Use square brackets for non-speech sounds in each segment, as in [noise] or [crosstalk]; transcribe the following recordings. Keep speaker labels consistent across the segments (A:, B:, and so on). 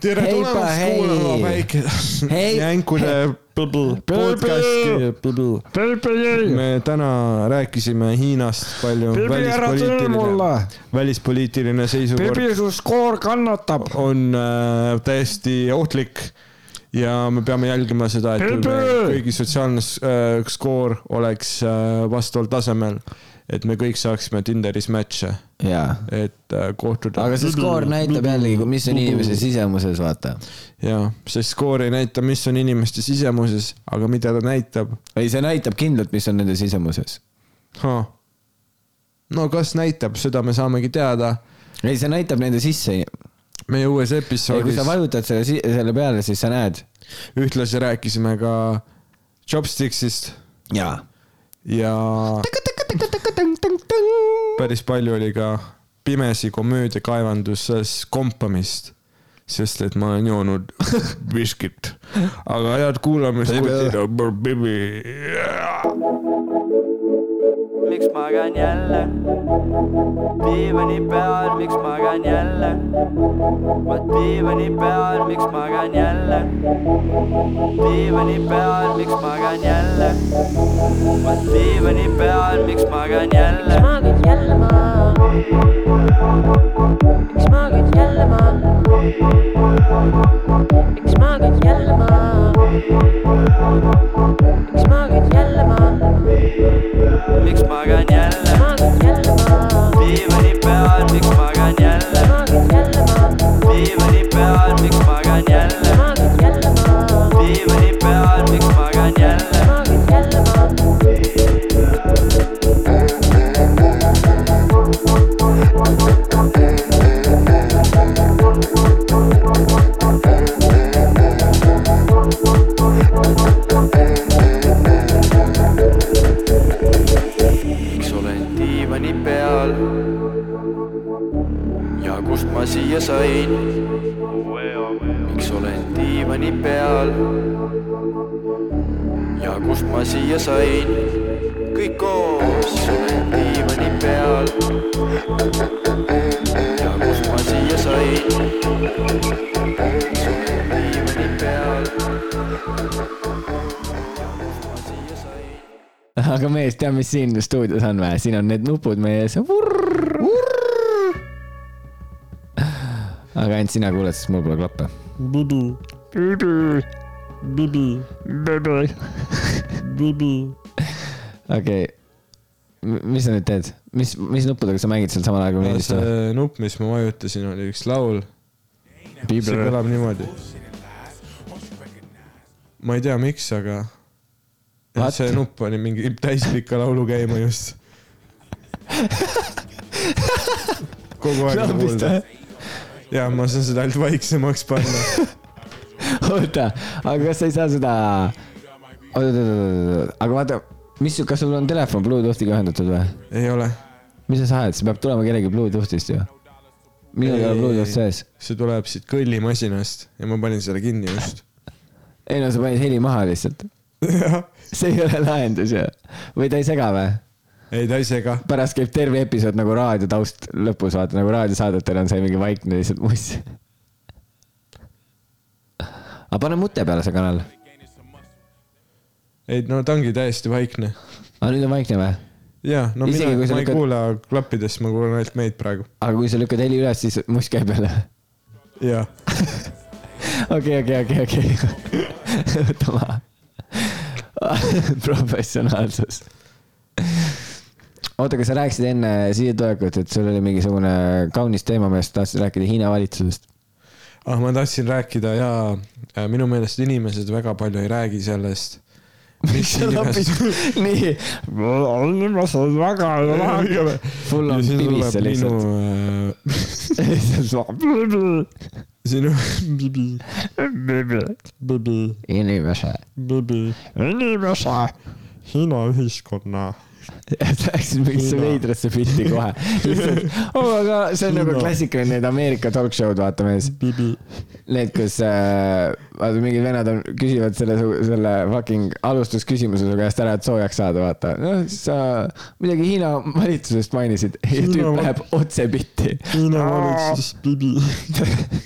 A: tere
B: Heipa
A: tulemast
B: hei!
A: kuulama väike
B: Hei-
A: jänkuse Põbl- podcasti . me täna rääkisime Hiinast palju .
C: Pipi , ära tule mulle .,
A: välispoliitiline seisukord
C: Pipi , su skoor kannatab .
A: on äh, täiesti ohtlik ja me peame jälgima seda , et
C: Pipi!
A: meil kõigi sotsiaalne s- äh, skoor oleks äh, vastaval tasemel , et me kõik saaksime Tinderis match'e ,
B: jaa ,
A: et äh, kohtuda .
B: aga see skoor näitab jällegi , mis on inimese sisemuses , vaata .
A: jaa , see skoor ei näita , mis on inimeste sisemuses , aga mida ta näitab .
B: ei , see näitab kindlalt , mis on nende sisemuses .
A: no kas näitab , seda me saamegi teada
B: ei , see näitab nende sisse .
A: meie uues
B: kui
A: episoodis
B: sa . vajutad selle , selle peale , siis sa näed .
A: ühtlasi rääkisime ka Chopsticksist
B: jaa .
A: ja päris palju oli ka pimesi komöödia kaevanduses kompamist , sest et ma olen joonud
B: [laughs]
A: viskit . aga head kuulamist , kutid on mul pibi .
D: miks magan jälle diivani peal , miks magan jälle ma diivani peal , miks magan jälle diivani peal , miks magan jälle ma diivani peal , miks magan jälle
E: miks ma käin jälle maal ? miks ma käin jälle maal ? miks ma käin jälle maal ? miks ma käin jälle maal ?
D: miks magan jälle
E: miks ma käin jälle maal ?
D: diivani peal , miks magan jälle
E: miks ma käin jälle maal ?
D: diivani peal , miks magan jälle
E: miks ma käin jälle maal ?
D: diivani peal , miks magan jälle
E: miks ma käin jälle maal ?
D: miks olen diivani peal ja kust ma siia sain ? miks olen diivani peal ja kust ma siia sain ? kõik koos olen diivani peal ja kust ma siia sain ? miks olen diivani peal ja kust ma siia sain ?
B: aga mees , tead , mis siin stuudios on või ? siin on need nupud meie ees . aga ainult sina kuuled , sest mul pole klappe .
C: Bibi , Bibi , Bibi , Bibi , Bibi .
B: okei okay. . mis sa nüüd teed ? mis , mis nuppudega sa mängid seal samal ajal kui meeldis tuleb ?
A: see nupp , mis ma vajutasin , oli üks laul , see kõlab niimoodi . ma ei tea , miks , aga
B: What?
A: see nupp pani mingi täispika laulu käima just . kogu aeg on
B: lambist
A: kuulda
B: või ?.
A: ja ma saan seda ainult vaiksemaks panna .
B: oota , aga kas sa ei saa seda , oot , oot , oot , oot , oot , aga vaata , mis , kas sul on telefon Bluetoothiga ühendatud või ?
A: ei ole ,
B: mis sa saad , see peab tulema kellegi Bluetoothist ju . minul ei
A: Ei,
B: ole Bluetooth
A: ei.
B: sees .
A: see tuleb siit kõllimasinast ja ma panin selle kinni just .
B: ei no sa panid heli maha lihtsalt . see ei ole lahendus ju . või ta ei sega või ?
A: ei , ta ei sega .
B: pärast käib terve episood nagu raadio taust lõpus , vaata nagu raadiosaadetel on see mingi vaikne lihtsalt muss . aga pane mute peale see kanal .
A: ei , no ta ongi täiesti vaikne .
B: aga Ah, nüüd on vaikne või ?
A: jaa , no mina ,
B: Isegi
A: ma
B: kui sa
A: ei
B: lükkad-
A: kuula klappidest , ma kuulan ainult meid praegu .
B: aga kui sa lükkad heli üles , siis muss käib jälle .
A: jaa .
B: okei , okei , okei , okei . võta maha . professionaalsus . oota , aga sa rääkisid enne siia tulekut , et sul oli mingisugune kaunis teema , millest tahtsid rääkida Hiina valitsusest .
A: ah , ma tahtsin rääkida ja äh, minu meelest inimesed väga palju ei räägi sellest .
B: [laughs]
A: mis inimest ,
B: nii ,
C: Oh, inimesed väga ei lahka .
B: full
A: ja
B: on
A: siis
B: pibisse
A: tuleb minu
B: lihtsalt .
A: äh, ,
C: Bibi ,
A: sinu , [laughs]
C: Bibi , Bibi , Bibi ,
B: inimese .
C: Bibi , inimese , Hiina ühiskonna
B: Läksid mingisse
A: Hiina.
B: veidrasse pilti kohe . oo , aga see on nagu
A: Hiina.
B: klassikaline need Ameerika talk show'd , vaata mees .
A: Bibi .
B: Need , kus äh, vaata mingid vennad on , küsivad selle , selle fucking alustusküsimuse su käest ära , et soojaks saada , vaata . noh , sa midagi Hiina valitsusest mainisid ja tüüp
A: Hiina-
B: läheb otse pitti .
A: Hiina
C: Oh,
A: valitsus , Bibi .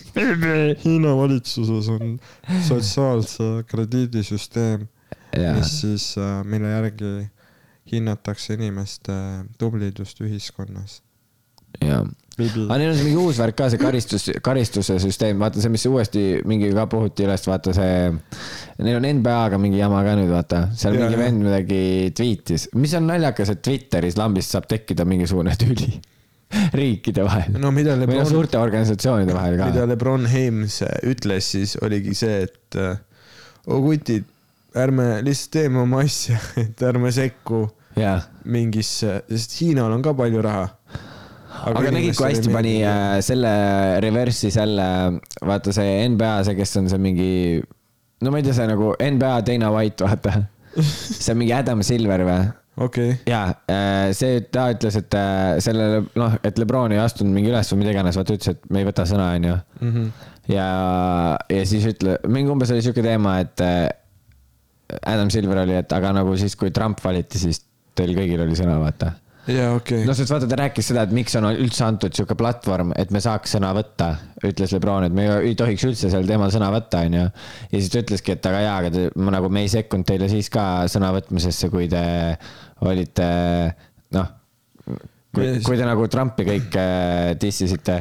A: Hiina valitsuses on sotsiaalse krediidisüsteem ,
B: jaa ,
A: mis siis , mille järgi hinnatakse inimeste äh, tublidust ühiskonnas .
B: jaa .
A: Bibi
B: aga . neil on see mingi uus värk ka , see karistus , karistuse süsteem , vaata see , mis uuesti mingi ka puhuti üles , vaata see . Neil on NBA-ga mingi jama ka nüüd , vaata , seal
A: Jaa,
B: mingi
A: jah.
B: vend midagi tweetis , mis on naljakas , et Twitteris lambist saab tekkida mingisugune tüli [laughs] riikide vahel .
A: no mida
B: või noh ,
A: Lebron ,
B: suurte organisatsioonide vahel
A: mida
B: ka .
A: Lebron James ütles , siis oligi see , et äh, o kutid , ärme lihtsalt teeme oma asja , [laughs] et ärme sekku
B: jaa ,
A: mingisse , sest Hiinal on ka palju raha .
B: aga nägid , kui hästi pani äh, selle reverse'i selle , vaata see NBA , see , kes on see mingi , no ma ei tea , see nagu NBA Dana White ,
A: [laughs]
B: vaata . see on mingi Adam Silver või ?
A: okei okay. ,
B: jaa , see , ta ütles , et äh, sellele , noh , et Lebron ei astunud mingi üles või mida iganes , vaata ütles , et me ei võta sõna , onju . ja , ja siis ütle , mingi umbes oli siuke teema , et äh, Adam Silver oli , et aga nagu siis , kui Trump valiti , siis teil kõigil oli sõna , vaata .
A: jaa okei
B: no
A: okay. ,
B: sest vaata , ta rääkis seda , et miks on üldse antud siuke platvorm , et me saaks sõna võtta , ütles Lebron , et me ei- ei tohiks üldse sel teemal sõna võtta , onju . ja siis ta ütleski , et aga jaa , aga te, ma nagu me ei sekkunud teile siis ka sõna võtmisesse , kui te olite noh , kui
A: Yes. ,
B: kui te nagu Trumpi kõik äh, dissisite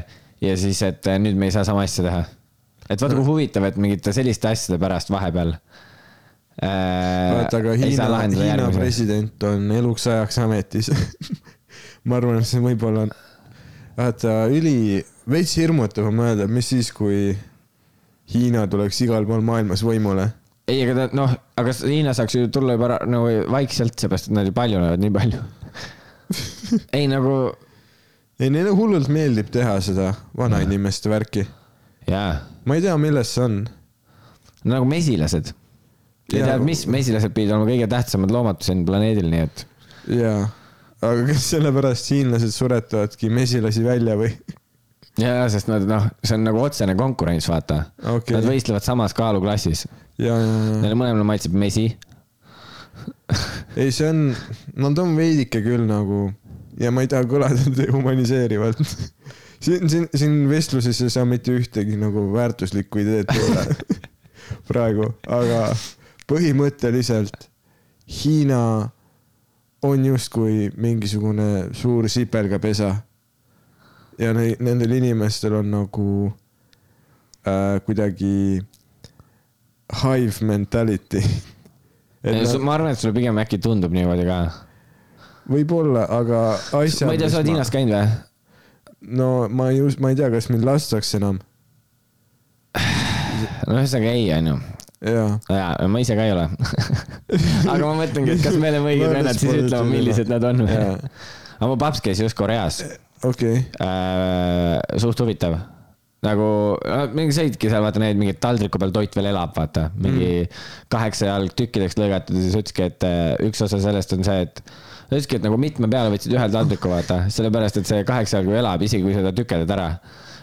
B: ja siis , et äh, nüüd me ei saa sama asja teha . et vaata , kui huvitav , et mingite selliste asjade pärast vahepeal äh,
A: vaata aga Hiina , Hiina . president on eluks ajaks ametis . [laughs] ma arvan , et see võib-olla on , vaata üli , veits hirmutav on mõelda , mis siis , kui Hiina tuleks igal pool maailmas võimule
B: ei , aga ta noh , aga s- Hiina saaks ju tulla juba ra- nagu vaikselt , seepärast et nad ju paljunevad nii palju . ei nagu ,
A: ei , neile hullult meeldib teha seda vanainimeste värki .
B: jaa ,
A: ma ei tea , milles see on .
B: nagu mesilased . ei
A: Jaa.
B: tea , mis mesilased pidid olema kõige tähtsamad loomad siin planeedil , nii et
A: jaa , aga kas sellepärast hiinlased suretavadki mesilasi välja või ?
B: jaa , sest nad noh , see on nagu otsene konkurents , vaata
A: Okei. Mm.
B: Nad võistlevad samas kaaluklassis ,
A: ja , ja , ja ,
B: neile mõlemale maitseb mesi .
A: [laughs] ei , see on , nad on veidike küll nagu ja ma ei taha kõlada [laughs] dehumaniseerivalt . siin , siin , siin vestluses ei saa mitte ühtegi nagu väärtuslikku ideed tulla [laughs] praegu , aga põhimõtteliselt Hiina on justkui mingisugune suur sipelgapesa . ja ne- nendel inimestel on nagu äh, kuidagi hive mentality . [laughs]
B: ma arvan , et sulle pigem äkki tundub niimoodi ka .
A: võib-olla , aga asja .
B: ma ei tea , sa oled Hiinas käinud või ?
A: no ma ei us- , ma ei tea , kas mind lastakse enam .
B: no ühesõnaga ei , onju
A: jaa ,
B: jaa , ma ise ka ei ole . [laughs] aga ma mõtlengi , et kas me oleme õiged
A: Mõeldes
B: vennad , siis
A: pole
B: ütleme ,
A: üldse
B: millised nad on .
A: Jaa.
B: aga mu paps käis just Koreas äh, .
A: okei okay. ,
B: Äh, suht huvitav . nagu , mingi sõitki seal , vaata need mingid taldriku peal toit veel elab , vaata . mingi mm. kaheksa jalg tükkideks lõigatud ja siis ütleski , et äh, üks osa sellest on see , et ta ütleski , et nagu mitme peale võtsid ühel taldriku , vaata , sellepärast et see kaheksa jalgu elab , isegi kui seda tükeldad ära .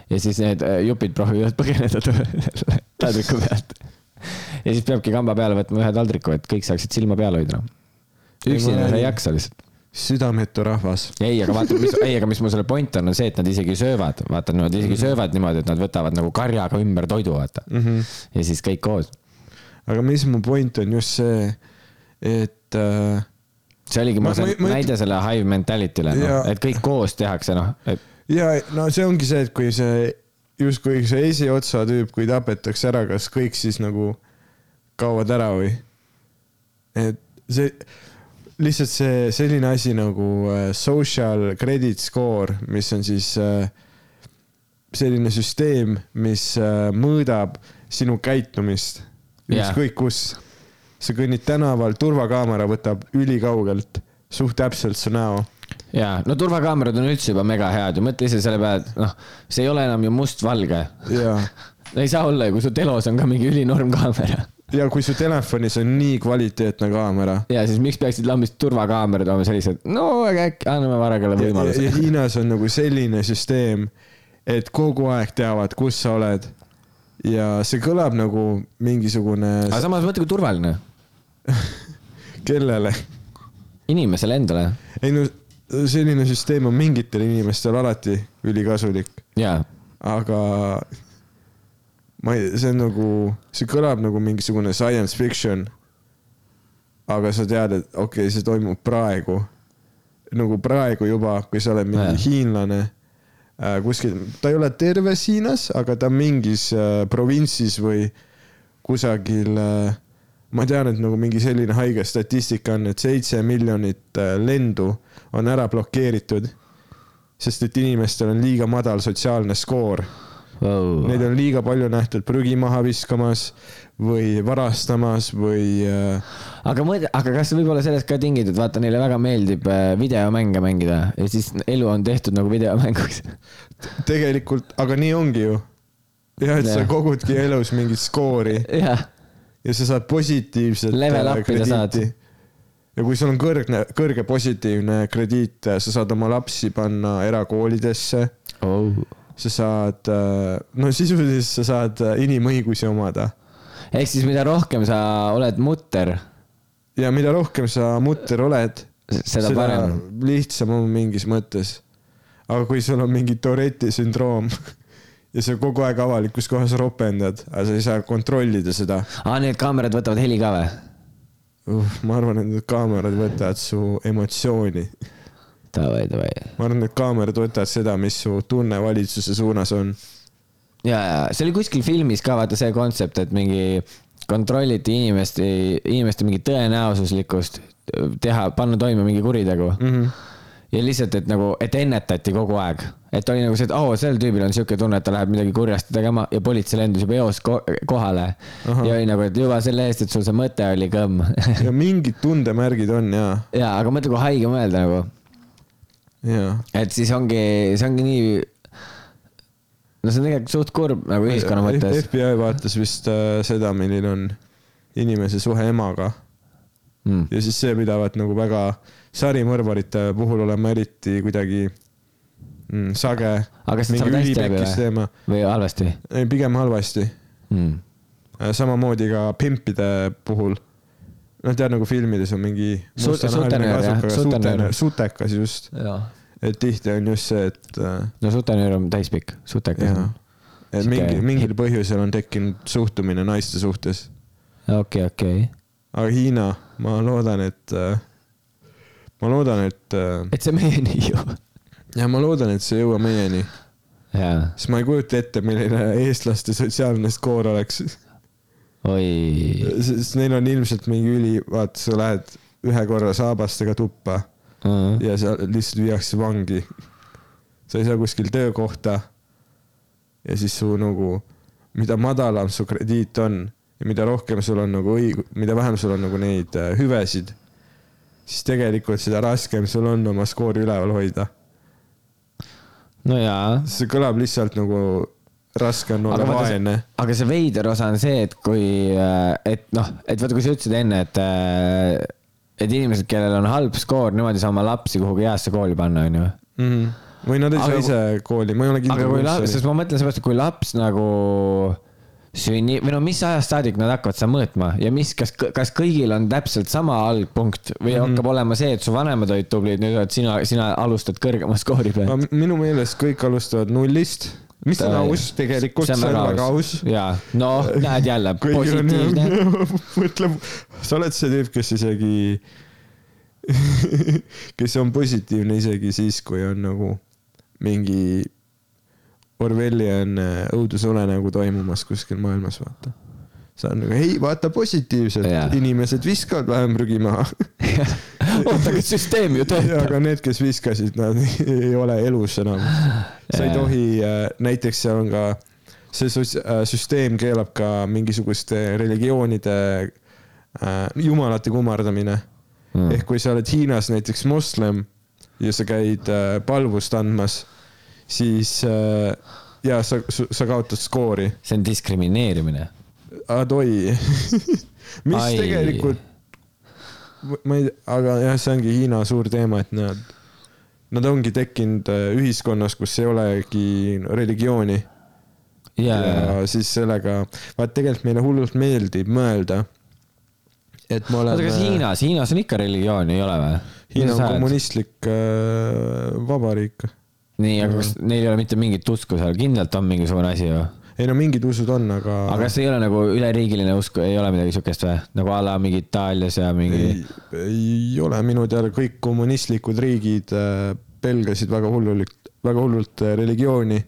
B: ja siis need äh, jupid proovivad [laughs] põgeneda taldriku pealt . ja siis peabki kamba peale võtma ühe taldriku , et kõik saaksid silma peal hoida .
A: Ei,
B: üksinda
A: ma-
B: sa ei jaksa lihtsalt .
A: südametu rahvas .
B: ei , aga vaata , mis , ei , aga mis mu selle point on , on see , et nad isegi söövad , vaata , nad
A: Mhm.
B: isegi söövad niimoodi , et nad võtavad nagu karjaga ümber toidu , vaata mm . -hmm. ja siis kõik koos .
A: aga mis mu point on just see , et äh,
B: see oligi mu
A: Ma- ma-
B: see
A: ma-
B: näide selle hive mentality'le no,
A: Jaa. ,
B: et kõik koos tehakse , noh , et
A: ja no see ongi see , et kui see justkui see esiotsa tüüp , kui tapetakse ära , kas kõik siis nagu kaovad ära või ? et see , lihtsalt see selline asi nagu äh, social credit score , mis on siis äh, selline süsteem , mis äh, mõõdab sinu käitumist
B: Jaa.
A: ükskõik kus . sa kõnnid tänaval , turvakaamera võtab ülikaugelt suht täpselt su näo
B: jaa , no turvakaamerad on üldse juba mega head ju , mõtle ise selle peale , et noh , see ei ole enam ju mustvalge .
A: ja
B: ei saa olla ju , kui su telos on ka mingi ülinorm kaamera .
A: ja kui su telefonis on nii kvaliteetne kaamera
B: ja siis miks peaksid lambist turvakaamerad olema sellised , no aga äkki anname varagale
A: ja, ja,
B: võimaluse
A: ja . Hiinas on nagu selline süsteem , et kogu aeg teavad , kus sa oled . ja see kõlab nagu mingisugune ,
B: aga samas mõtle , kui turvaline
A: kellele ,
B: inimesele endale
A: ei no selline süsteem on mingitel inimestel alati ülikasulik ,
B: ja
A: aga ma ei , see on nagu , see kõlab nagu mingisugune science fiction . aga sa tead , et okei okay, , see toimub praegu . nagu praegu juba , kui sa oled mingi
B: Jaa.
A: hiinlane äh, kuskil , ta ei ole terves Hiinas , aga ta on mingis äh, provintsis või kusagil äh, ma tean , et nagu mingi selline haige statistika on , et seitse miljonit äh, lendu on ära blokeeritud , sest et inimestel on liiga madal sotsiaalne skoor
B: wow.
A: Neid on liiga palju nähtud prügi maha viskamas või varastamas või äh,
B: aga mõtle , aga kas võib-olla sellest ka tingitud , vaata neile väga meeldib äh, videomänge mängida ja siis elu on tehtud nagu videomänguks .
A: tegelikult , aga nii ongi ju . ja et sa
B: Jah.
A: kogudki elus mingit skoori
B: [laughs] jah ,
A: ja sa saad positiivset .
B: Level up'i sa saad.
A: ja kui sul on kõrgne , kõrge positiivne krediit , sa saad oma lapsi panna erakoolidesse ,
B: oh.
A: sa saad , no sisuliselt sa saad äh, inimõigusi omada
B: ehk siis mida rohkem sa oled mutter ,
A: ja mida rohkem sa mutter oled ,
B: seda parem .
A: lihtsam on mingis mõttes . aga kui sul on mingi Tourette'i sündroom [laughs] ja sa kogu aeg avalikus kohas ropendad , aga sa ei saa kontrollida seda
B: aa , Ah, need kaamerad võtavad heli ka või ?
A: uh, . ma arvan , et need kaamerad võtavad su emotsiooni .
B: Davai , davai .
A: ma arvan , et need kaamerad võtavad seda , mis su tunne valitsuse suunas on .
B: ja , ja see oli kuskil filmis ka vaata see kontsept , et mingi kontrolliti inimeste , inimeste mingi tõenäosuslikkust teha , panna toime mingi kuritegu mm . -hmm. ja lihtsalt , et nagu , et ennetati kogu aeg , et oli nagu see , et oo oh, , sel tüübil on siuke tunne , et ta läheb midagi kurjasti tegema ja politsei lendus juba eos ko kohale . ja oli nagu , et juba selle eest , et sul see mõte oli kõmm . [laughs]
A: ja mingid tundemärgid on ja ,
B: ja , aga mõtle , kui haige mõelda nagu
A: ja .
B: et siis ongi , see ongi nii . no see on tegelikult suht kurb nagu
A: Äh,
B: ühiskonna mõttes .
A: FBI vaatas vist äh, seda , milline on inimese suhe emaga
B: Mm.
A: ja siis see pidavat nagu väga sarimõrvarite puhul olema eriti kuidagi mm, sage .
B: aga kas nad saavad hästi läbi või
A: teema ,?
B: või halvasti
A: ei pigem halvasti .
B: mm. ?
A: samamoodi ka pimpide puhul . noh , tead nagu filmides on mingi
B: Su-
A: mustanahaline
B: sutenöör, jah,
A: kasukaga
B: sutenöör.
A: sutenöör- sutekas just ,
B: no
A: et tihti on just see , et äh,
B: sutenöör on täispikk , sutekas
A: jah
B: on .,
A: et
B: Sihuke
A: mingi , mingil
B: hip-
A: põhjusel on tekkinud suhtumine naiste suhtes
B: okei , okei .
A: aga Hiina , ma loodan , et , ma loodan , et äh,
B: et see meieni ei jõua .
A: ja ma loodan , et see ei jõua meieni ,
B: jaa ,
A: sest ma ei kujuta ette , milline eestlaste sotsiaalne skoor oleks ,
B: oi .
A: sest neil on ilmselt mingi üli , vaata , sa lähed ühe korra saabastega tuppa ja sa lihtsalt viiakse vangi . sa ei saa kuskil töökohta . ja siis su nagu , mida madalam su krediit on ja mida rohkem sul on nagu õig- , mida vähem sul on nagu neid äh, hüvesid , siis tegelikult seda raskem sul on oma skoori üleval hoida .
B: no jaa
A: see kõlab lihtsalt nagu raske on olla
B: aga vaata
A: vaene .
B: see- aga see veider osa on see , et kui , et noh , et vaata , kui sa ütlesid enne , et , et inimesed , kellel on halb skoor , nemad ei saa oma lapsi kuhugi heasse kooli panna , onju .
A: Mm. või nad ei saa
B: Mhm. Aga-
A: ise kooli , ma ei ole
B: aga kui laps ,
A: kindel
B: sest . ma mõtlen seepärast , et kui laps nagu sünni või no mis ajast saadik nad hakkavad seda mõõtma ja mis , kas , kas kõigil on täpselt sama algpunkt või mm
A: Mhm.
B: -hmm. hakkab olema see , et su vanemad olid tublid , nüüd oled sina , sina alustad kõrgema skoori pealt .
A: minu meelest kõik alustavad nullist , mis on aus tegelikult , see on väga aus .
B: jaa , noh , näed jälle , positiivne .
A: [laughs] mõtleb , sa oled see tüüp , kes isegi , kes on positiivne isegi siis , kui on nagu mingi Orwellian õudusolenägu toimumas kuskil maailmas , vaata . sa oled nagu , ei vaata positiivselt
B: Jaa.
A: yeah. , inimesed viskavad vähem prügi maha . [laughs]
B: [laughs] oota , aga süsteem ju töötab .
A: aga need , kes viskasid , nad [laughs] ei ole elus enam . sa ei
B: Jaa.
A: tohi , näiteks seal on ka , see sots- äh, süsteem keelab ka mingisuguste religioonide äh, jumalate kummardamine
B: Hmm.
A: mm. . ehk kui sa oled Hiinas näiteks moslem ja sa käid äh, palvust andmas , siis äh, ja sa , sa kaotad skoori
B: see on diskrimineerimine .
A: Adoi , [laughs] mis
B: Ai.
A: Ai. tegelikult , ma ei tea , aga jah , see ongi Hiina suur teema , et nad , nad ongi tekkinud äh, ühiskonnas , kus ei olegi religiooni
B: ja , ja ,
A: ja siis sellega , vaat tegelikult meile hullult meeldib mõelda , et me
B: oota ,
A: oleme .
B: kas Hiinas , Hiinas on ikka religioon , ei ole või ?
A: Hiina on . kommunistlik äh, vabariik .
B: nii , aga kas neil ei ole mitte mingit usku seal , kindlalt on mingisugune asi ju ?
A: ei no mingid usud on , aga,
B: aga kas ei ole nagu üleriigiline usk , ei ole midagi siukest või ? nagu a la mingi Itaalias ja mingi
A: ei , ei ole minu teada kõik kommunistlikud riigid äh, pelgasid väga hullult , väga hullult äh, religiooni ,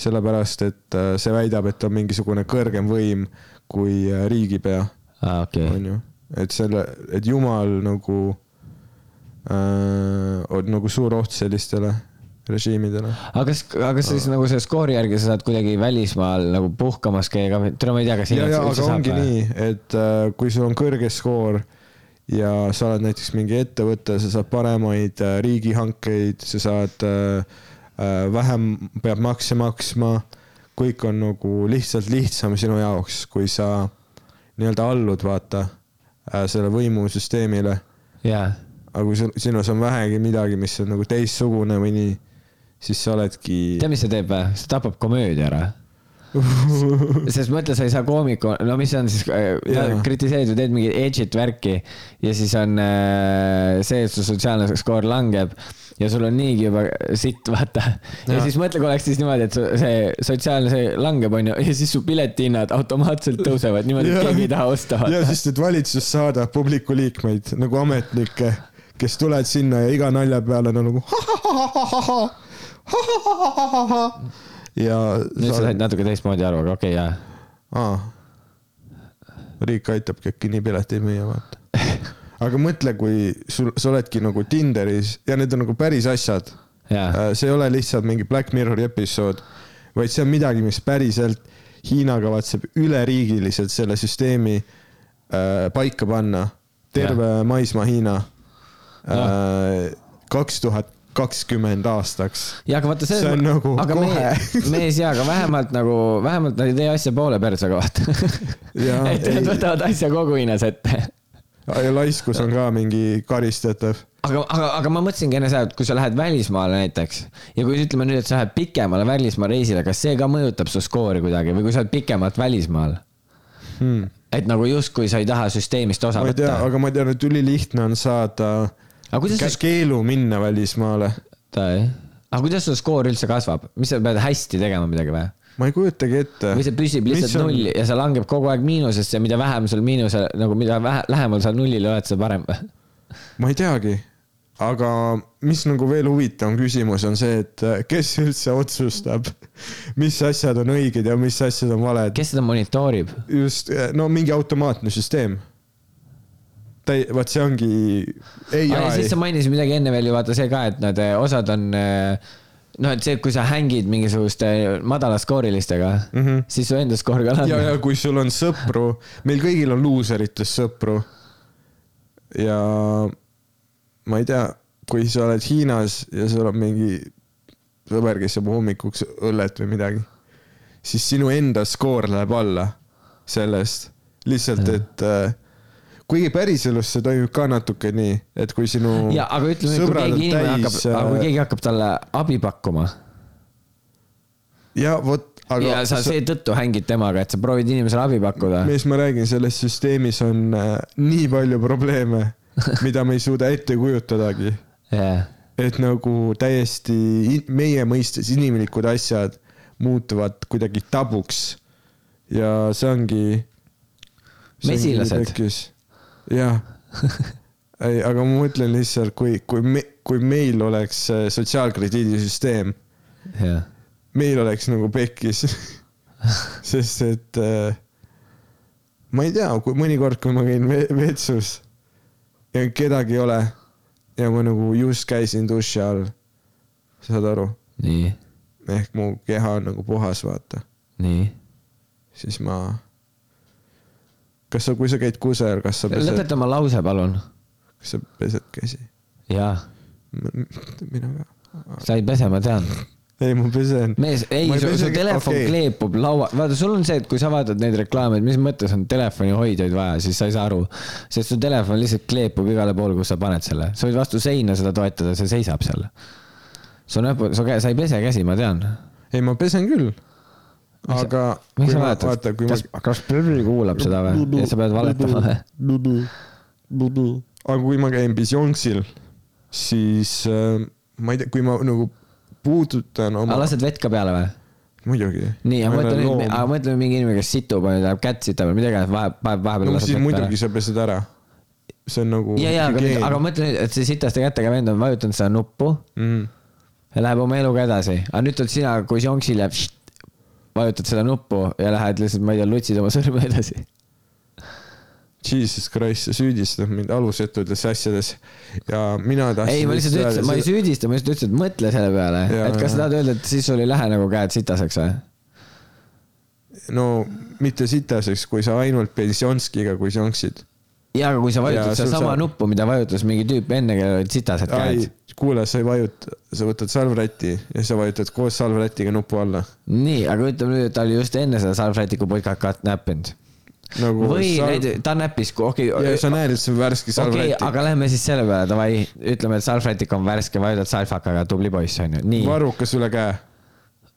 A: sellepärast et äh, see väidab , et on mingisugune kõrgem võim kui äh, riigipea ,
B: ah, , okei okay. ,
A: onju . et selle , et jumal nagu äh, on nagu suur oht sellistele režiimidele .
B: aga kas , aga kas siis nagu selle skoori järgi sa saad kuidagi välismaal nagu puhkamas käia ka , tule ma ei tea , kas
A: ja , ja
B: Hiinas
A: aga
B: üldse saab
A: ongi
B: või ?
A: nii , et äh, kui sul on kõrge skoor ja sa oled näiteks mingi ettevõte , sa saad paremaid äh, riigihankeid , sa saad äh, äh, vähem , peab makse maksma . kõik on nagu lihtsalt lihtsam sinu jaoks , kui sa nii-öelda allud , vaata äh, , selle võimusüsteemile .
B: jaa ,
A: aga kui sul , sinus on vähegi midagi , mis on nagu teistsugune või nii , siis sa oledki .
B: tead , mis see teeb või ? see tapab
A: [laughs]
B: komöödia ära . sest mõtle , sa ei saa koomiku , no mis see on siis yeah.
A: Jaa. ,
B: kritiseerid või teed mingit edge'it värki ja siis on äh, see , et su sotsiaalne skoor langeb ja sul on niigi juba sitt , vaata . ja
A: Jaa.
B: siis mõtle , kui oleks siis niimoodi , et su- see sotsiaalne , see langeb , onju , ja siis su piletihinnad automaatselt tõusevad niimoodi ,
A: Jaa.
B: et keegi ei taha osta .
A: ja siis nüüd valitsus saadab publiku liikmeid nagu ametnikke , kes tulevad sinna ja iga nalja peale on nagu ha-ha-ha-ha-ha-ha , ha-ha-ha-ha-ha-ha ja
B: nüüd sa
A: sa-
B: said natuke teistmoodi aru , aga okei okay, , jaa
A: aa, riik aitabki , äkki nii pileteid müüa , vaata . aga mõtle , kui sul , sa oledki nagu Tinderis ja need on nagu päris asjad .
B: Jaa.
A: Äh, see ei ole lihtsalt mingi Black Mirrori episood , vaid see on midagi , mis päriselt Hiina kavatseb üleriigiliselt selle süsteemi äh, paika panna . terve maismaa Hiina
B: Noh.
A: äh, kaks tuhat kakskümmend aastaks .
B: ja aga vaata
A: See on nagu
B: aga
A: kohe.
B: mees , mees ja , aga vähemalt nagu , vähemalt nad ei tee asja poole persaga , vaata .
A: Jaa,
B: et nad
A: ei.
B: võtavad asja kogu hinnas ette .
A: ja laiskus on ka mingi karistatav
B: aga , aga , aga ma mõtlesingi enne seda , et kui sa lähed välismaale näiteks ja kui ütleme nüüd , et sa lähed pikemale välismaa reisile , kas see ka mõjutab su skoori kuidagi või kui sa oled pikemalt välismaal ?
A: hmm.
B: et nagu justkui sa ei taha süsteemist osa
A: ma ei tea ,
B: võtta .
A: aga ma tean , et ülilihtne on saada
B: aga kuidas
A: kä-
B: su
A: keelu minna välismaale .
B: skoor , aga kuidas su skoor üldse kasvab , mis sa pead hästi tegema midagi või ?
A: ma ei kujutagi ette .
B: või see püsib lihtsalt on... nulli ja see langeb kogu aeg miinusesse , mida vähem sul miinuse , nagu mida vähe, lähemal sa nullile oled , seda parem .
A: ma ei teagi , aga mis nagu veel huvitavam küsimus on see , et äh, kes üldse otsustab , [laughs] mis asjad on õiged ja mis asjad on valed .
B: kes seda monitoorib ?
A: just , no mingi automaatne süsteem . täi- , vot see ongi ai,
B: ja siis sa mainisid midagi enne veel ju vaata see ka , et nad , osad on noh , et see , kui sa hängid mingisuguste madalaskoorilistega mm , -hmm. siis su enda skoor ka
A: ja , ja
B: langeb .
A: kui sul on sõpru , meil kõigil on luuseritest sõpru . ja ma ei tea , kui sa oled Hiinas ja sul on mingi sõber , kes joob hommikuks õllet või midagi , siis sinu enda skoor läheb alla sellest , lihtsalt , et äh, kuigi päriselus see toimib ka natuke nii , et kui sinu
B: ja aga ütleme , kui
A: sõbrad
B: keegi
A: on
B: inimene
A: täis
B: hakkab , aga kui
A: äh,
B: keegi hakkab talle abi pakkuma
A: ja vot ,
B: aga...
A: aga
B: ja sa seetõttu hängid temaga , et sa proovid inimesele abi pakkuda .
A: mees , ma räägin , selles süsteemis on äh, nii palju probleeme , mida me ei suuda ette kujutadagi .
B: jah ,
A: et nagu täiesti in- meie mõistes inimlikud asjad muutuvad kuidagi tabuks . ja see ongi .
B: Mesilased. .
A: jah , ei , aga ma mõtlen lihtsalt , kui , kui me , kui meil oleks äh, sotsiaalkrediidisüsteem
B: jah
A: meil oleks nagu
B: [laughs]
A: pekkis . sest et äh, ma ei tea , kui mõnikord , kui ma käin ve- vetsus ja kedagi ei ole ja ma nagu just käisin duši all . saad aru ,
B: nii ,
A: ehk mu keha on nagu puhas , vaata ,
B: nii
A: siis ma . kas sa , kui sa käid kusagil , kas sa pesed ,
B: lõpeta oma lause , palun .
A: kas sa pesed käsi ?
B: jaa ,
A: mina ka .
B: sa ei pese , ma tean .
A: ei , ma pesen .
B: mees , ei ,
A: Ma ei
B: su, su
A: pesegi-
B: telefon
A: okei.
B: okay. kleepub laua , vaata , sul on see , et kui sa vaatad neid reklaame , et mis mõttes on telefonihoidjaid vaja , siis sa ei saa aru . sest su telefon lihtsalt kleepub igale poole , kus sa paned selle , sa võid vastu seina seda toetada , see seisab seal . su näpu , su käe , sa ei pese käsi , ma tean .
A: ei , ma pesen küll .
B: sa-
A: aga .
B: miks sa vaatad
A: vaata ,, kui ma
B: kas , kas Püri kuulab seda või ? ja sa pead valetama või ?
A: aga kui ma käin Bisjonksil , siis äh, ma ei tea , kui ma nagu puudutan
B: aga
A: oma ,
B: lased vett ka peale või ?
A: muidugi .
B: nii , aga mõtle nüüd , aga mõtle nüüd mingi inimene , kes situb , on ju , läheb kätt sitab või midagi , vahe , vahe , vahepeal
A: no
B: laseb
A: siis
B: vett peale
A: muidugi . sa pesed ära . see on nagu .
B: ja , ja , aga , aga mõtle nüüd , et see sitaste kätega vend on vajutanud seda nuppu
A: mm. .
B: ja läheb oma eluga edasi , aga nüüd oled sina , kui jonksil jääb , vajutad seda nuppu ja lähed lihtsalt , ma ei tea , lutsid oma sõrme edasi .
A: Jesus Christ , sa süüdistad mind alusetutes asjades ja mina tahtsin .
B: ei , ma lihtsalt ütlesin , ma ei süüdista , ma lihtsalt ütlesin , et mõtle selle peale ,
A: Jaa,
B: et kas sa
A: jaa.
B: tahad öelda , et siis sul ei lähe nagu käed sitaseks või ?
A: süüdi . no mitte sitaseks , kui sa ainult Bisjonskiga , kui jonksid .
B: jaa , aga kui sa
A: Jaa,
B: vajutad
A: sul
B: sedasama
A: saab-
B: nuppu , mida vajutas mingi tüüp enne , kellel olid sitased
A: ei
B: käed .,
A: kuule , sa ei vajuta , sa võtad salvräti ja sa vajutad koos salvrätiga nupu alla .
B: nii , aga ütleme nüüd , et ta oli just enne seda salvrätiku putkakat näppinud .
A: nagu
B: või
A: sal-
B: näide- ta näppis , okei
A: ja sa näed , et see on värske
B: okei
A: salvräti
B: okay, , aga lähme siis selle peale , davai , ütleme , et salvrätik on värske , vajutad salvakaga , tubli poiss on ju , nii .
A: varrukas üle käe .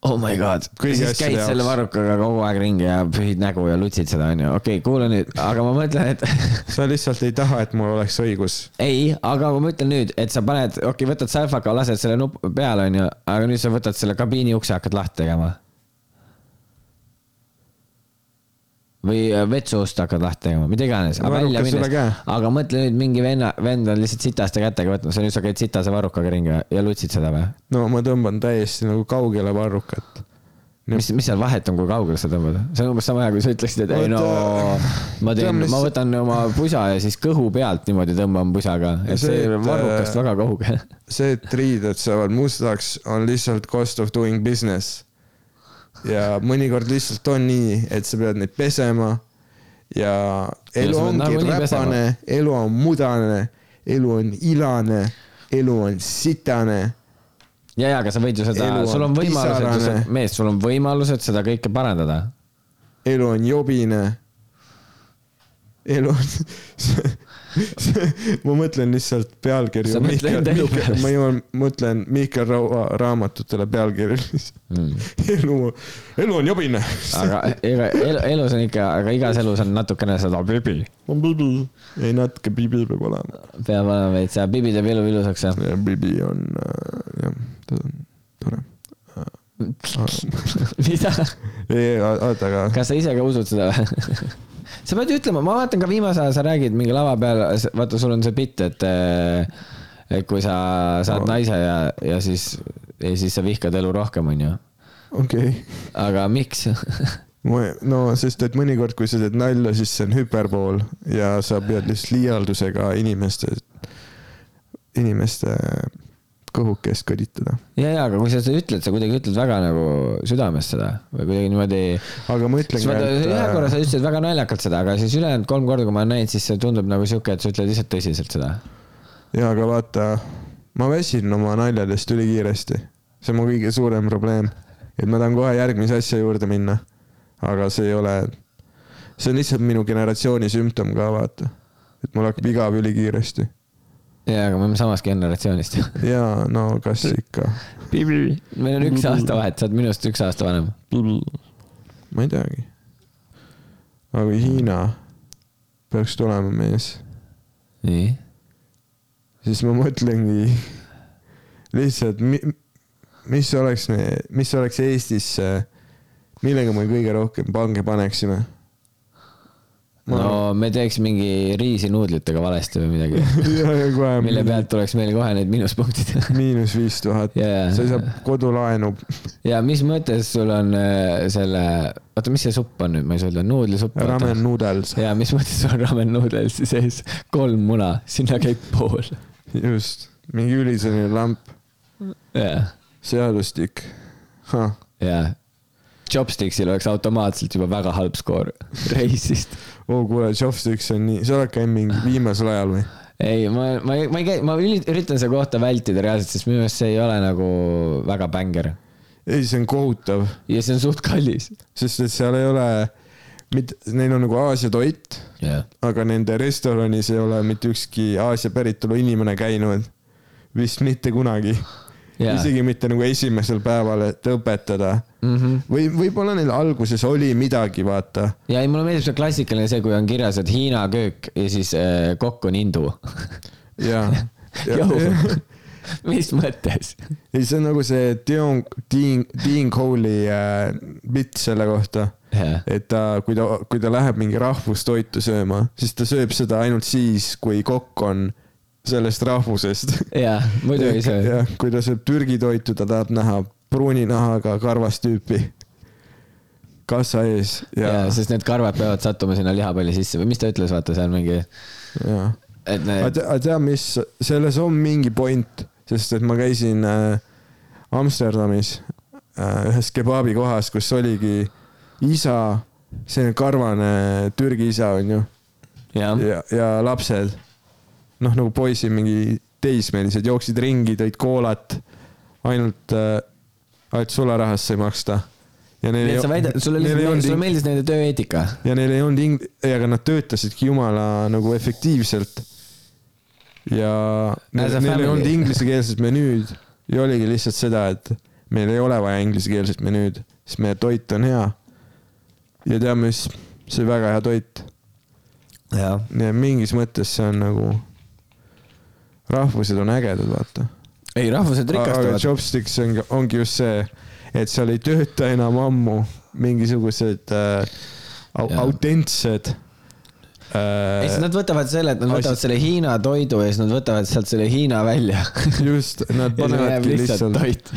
B: oh my god ,
A: Kõigi
B: siis
A: asjade
B: käid
A: jaoks.
B: selle varrukaga kogu aeg ringi ja pühid nägu ja lutsid seda onju , okei okay, , kuule nüüd , aga ma mõtlen , et [laughs]
A: sa lihtsalt ei taha , et mul oleks õigus .
B: ei , aga ma ütlen nüüd , et sa paned , okei okay, , võtad salvaka , lased selle nupu peale onju , aga nüüd sa võtad selle kabiini ukse , hakkad lahti tegema . või äh, vetsust hakkad lahti tegema , mida iganes , aga välja
A: Varrukas üle
B: minnes
A: käe. ,
B: aga mõtle nüüd mingi venna , vend on lihtsalt sitaste kätega võtnud , sa nüüd sa käid sitase varrukaga ringi ja lutsid seda või ?
A: no ma tõmban täiesti nagu kaugele varrukat . Nii.
B: mis , mis seal vahet on , kui kaugele sa tõmbad ? see on umbes sama hea , kui sa ütleksid , et ei no
A: äh,
B: ma teen , ma
A: lihtsalt-
B: võtan oma pusa ja siis kõhu pealt niimoodi tõmban pusaga ,
A: Ja
B: et see
A: see, et,
B: varrukast
A: äh,
B: väga kaugel .
A: see , et riided saavad mustaks , on lihtsalt cost of doing business . ja mõnikord lihtsalt on nii , et sa pead neid pesema ja elu
B: sa pead
A: ongi
B: nagunii
A: räpane , elu on mudane , elu on ilane , elu on sitane
B: ja , ja , aga sa võid ju seda
A: Elu , on
B: sul on võimalused
A: pisarane. ,
B: mees , sul on võimalused seda kõike parandada .
A: elu on jobine . elu on , [laughs] ma mõtlen lihtsalt pealkirju
B: Sa . mõtled elu peale.
A: ma jõuan , mõtlen Mihkel Raua raamatutele pealkirju [laughs] mm. . elu , elu on jobine .
B: aga e-
A: [laughs]
B: ega elu , elus on ikka , aga igas elus on natukene seda bibi .
A: ei , natuke bibi peab olema .
B: peab olema veits , bibi teeb elu ilusaks ja
A: bibi on , jah , ta on tore .
B: [laughs] mida ?
A: ei , oota , aga
B: kas sa ise ka usud seda või ? [laughs] sa pead ju ütlema , ma vaatan ka viimase aja sa räägid mingi lava peal , vaata , sul on see bitt , et eh, et kui sa saad no. naise ja , ja siis , ja siis sa vihkad elu rohkem , onju .
A: okei okay. ,
B: aga miks ? [laughs]
A: no sest , et mõnikord , kui sa teed nalja , siis see on hüperbool ja sa pead lihtsalt liialdusega inimeste , inimeste kõhukest kõditada .
B: ja , ja , aga kui sa seda ütled , sa kuidagi ütled väga nagu südamest seda või kuidagi niimoodi .
A: aga ma
B: siis
A: ütlen
B: vaata , ühe korra sa ütlesid väga naljakalt seda , aga siis ülejäänud kolm korda , kui ma olen näinud , siis see tundub nagu sihuke , et sa ütled lihtsalt tõsiselt seda .
A: jaa , aga vaata , ma väsin oma naljadest ülikiiresti . see on mu kõige suurem probleem . et ma tahan kohe järgmise asja juurde minna . aga see ei ole , see on lihtsalt minu generatsiooni sümptom ka , vaata . et mul hakkab igav ülikiiresti .
B: ja , aga me oleme samast generatsioonist . [laughs]
A: jaa , no kas ikka ,
B: meil on
A: Mm.
B: üks aasta vahet , sa oled minust üks aasta vanem .
A: ma ei teagi . aga kui Hiina peaks tulema mees ,
B: nii
A: siis ma mõtlengi lihtsalt , mis oleks , mis oleks Eestis , millega me kõige rohkem pange paneksime ?
B: no
A: [laughs]
B: me teeks mingi riisinuudlitega valesti või midagi , [laughs] mille
A: kohe
B: pealt tuleks meil kohe need miinuspunktid .
A: [laughs] miinus viis tuhat ,
B: [laughs] Jaa.
A: sa ei saa kodulaenu .
B: ja mis mõttes sul on äh, selle , oota , mis see supp on nüüd , ma ei saa öelda , nuudlisupp .
A: ramen
B: [laughs]
A: noodles ,
B: ja mis mõttes sul on ramen nuudelsi sees kolm muna , sinna käib pool .
A: just , mingi ülisõnne lamp ,
B: ja ,
A: seadustik .
B: ja Chopsticksil oleks automaatselt juba väga halb skoor [laughs] reisist .
A: oo , Oh, kuule , Chopsticks on nii , sa oled käinud mingi viimasel ajal või ?
B: ei , ma , ma , ma ei käi , ma üli- üritan seda kohta vältida reaalselt , sest minu meelest see ei ole nagu väga bängar
A: ei , see on kohutav ,
B: ja see on suht kallis .
A: sest et seal ei ole , mitte , neil on nagu Aasia toit ,
B: jah .
A: aga nende restoranis ei ole mitte ükski Aasia päritolu inimene käinud . vist mitte kunagi , isegi mitte nagu esimesel päeval , et õpetada või võib-olla neil alguses oli midagi , vaata .
B: ja ei , mulle meeldib see klassikaline see , kui on kirjas , et Hiina köök ja siis äh, kokk on hindu .
A: ja ,
B: [laughs]
A: ja ,
B: Jõu.
A: ja
B: mis mõttes ?
A: ei , see on nagu see Dion , Dean , Dean Cole'i äh, bitt selle kohta .
B: jah ,
A: et ta , kui ta , kui ta läheb mingi rahvustoitu sööma , siis ta sööb seda ainult siis , kui kokk on sellest rahvusest .
B: jah , muidu ei söö .
A: jah , kui ta sööb Türgi toitu , ta tahab näha pruuni nahaga karvast tüüpi kassa ees ja
B: jaa ,, sest need karvad peavad sattuma sinna lihapalli sisse või mis ta ütles , vaata seal mingi ,
A: ja .
B: et need
A: aga
B: Ad...
A: tea , aga tea , mis , selles on mingi point , sest et ma käisin äh, Amsterdamis äh, ühes kebaabi kohas , kus oligi isa , selline karvane Türgi isa onju
B: jah ja. ,
A: ja , ja lapsed , noh nagu poisid , mingi teismelised jooksid ringi , tõid koolat , ainult äh, , ainult sularahast sai maksta . ja neil
B: nii et sa väidad , sulle
A: neil ei
B: lihtsalt ,
A: olnud
B: sulle
A: ing-
B: meeldis nende tööeetika .
A: ja neil ei olnud ing- , ei aga nad töötasidki jumala nagu efektiivselt . ja
B: As
A: neil,
B: a
A: neil ei
B: family.
A: olnud inglisekeelset menüüd ja oligi lihtsalt seda , et meil ei ole vaja inglisekeelset menüüd , sest meie toit on hea . ja tea mis , see väga hea toit ,
B: jah .
A: mingis mõttes see on nagu , rahvused on ägedad , vaata .
B: ei , rahvused
A: aga
B: rikastavad .
A: chopsticks on, ongi just see , et seal ei tööta enam ammu mingisugused äh, au-
B: Jaa.
A: autentsed
B: ei , siis
A: äh, .
B: nad võtavad selle , et nad võtavad selle Hiina toidu ja siis nad võtavad sealt selle Hiina välja .
A: just ,
B: [laughs]
A: nad panevadki lihtsalt
B: toit .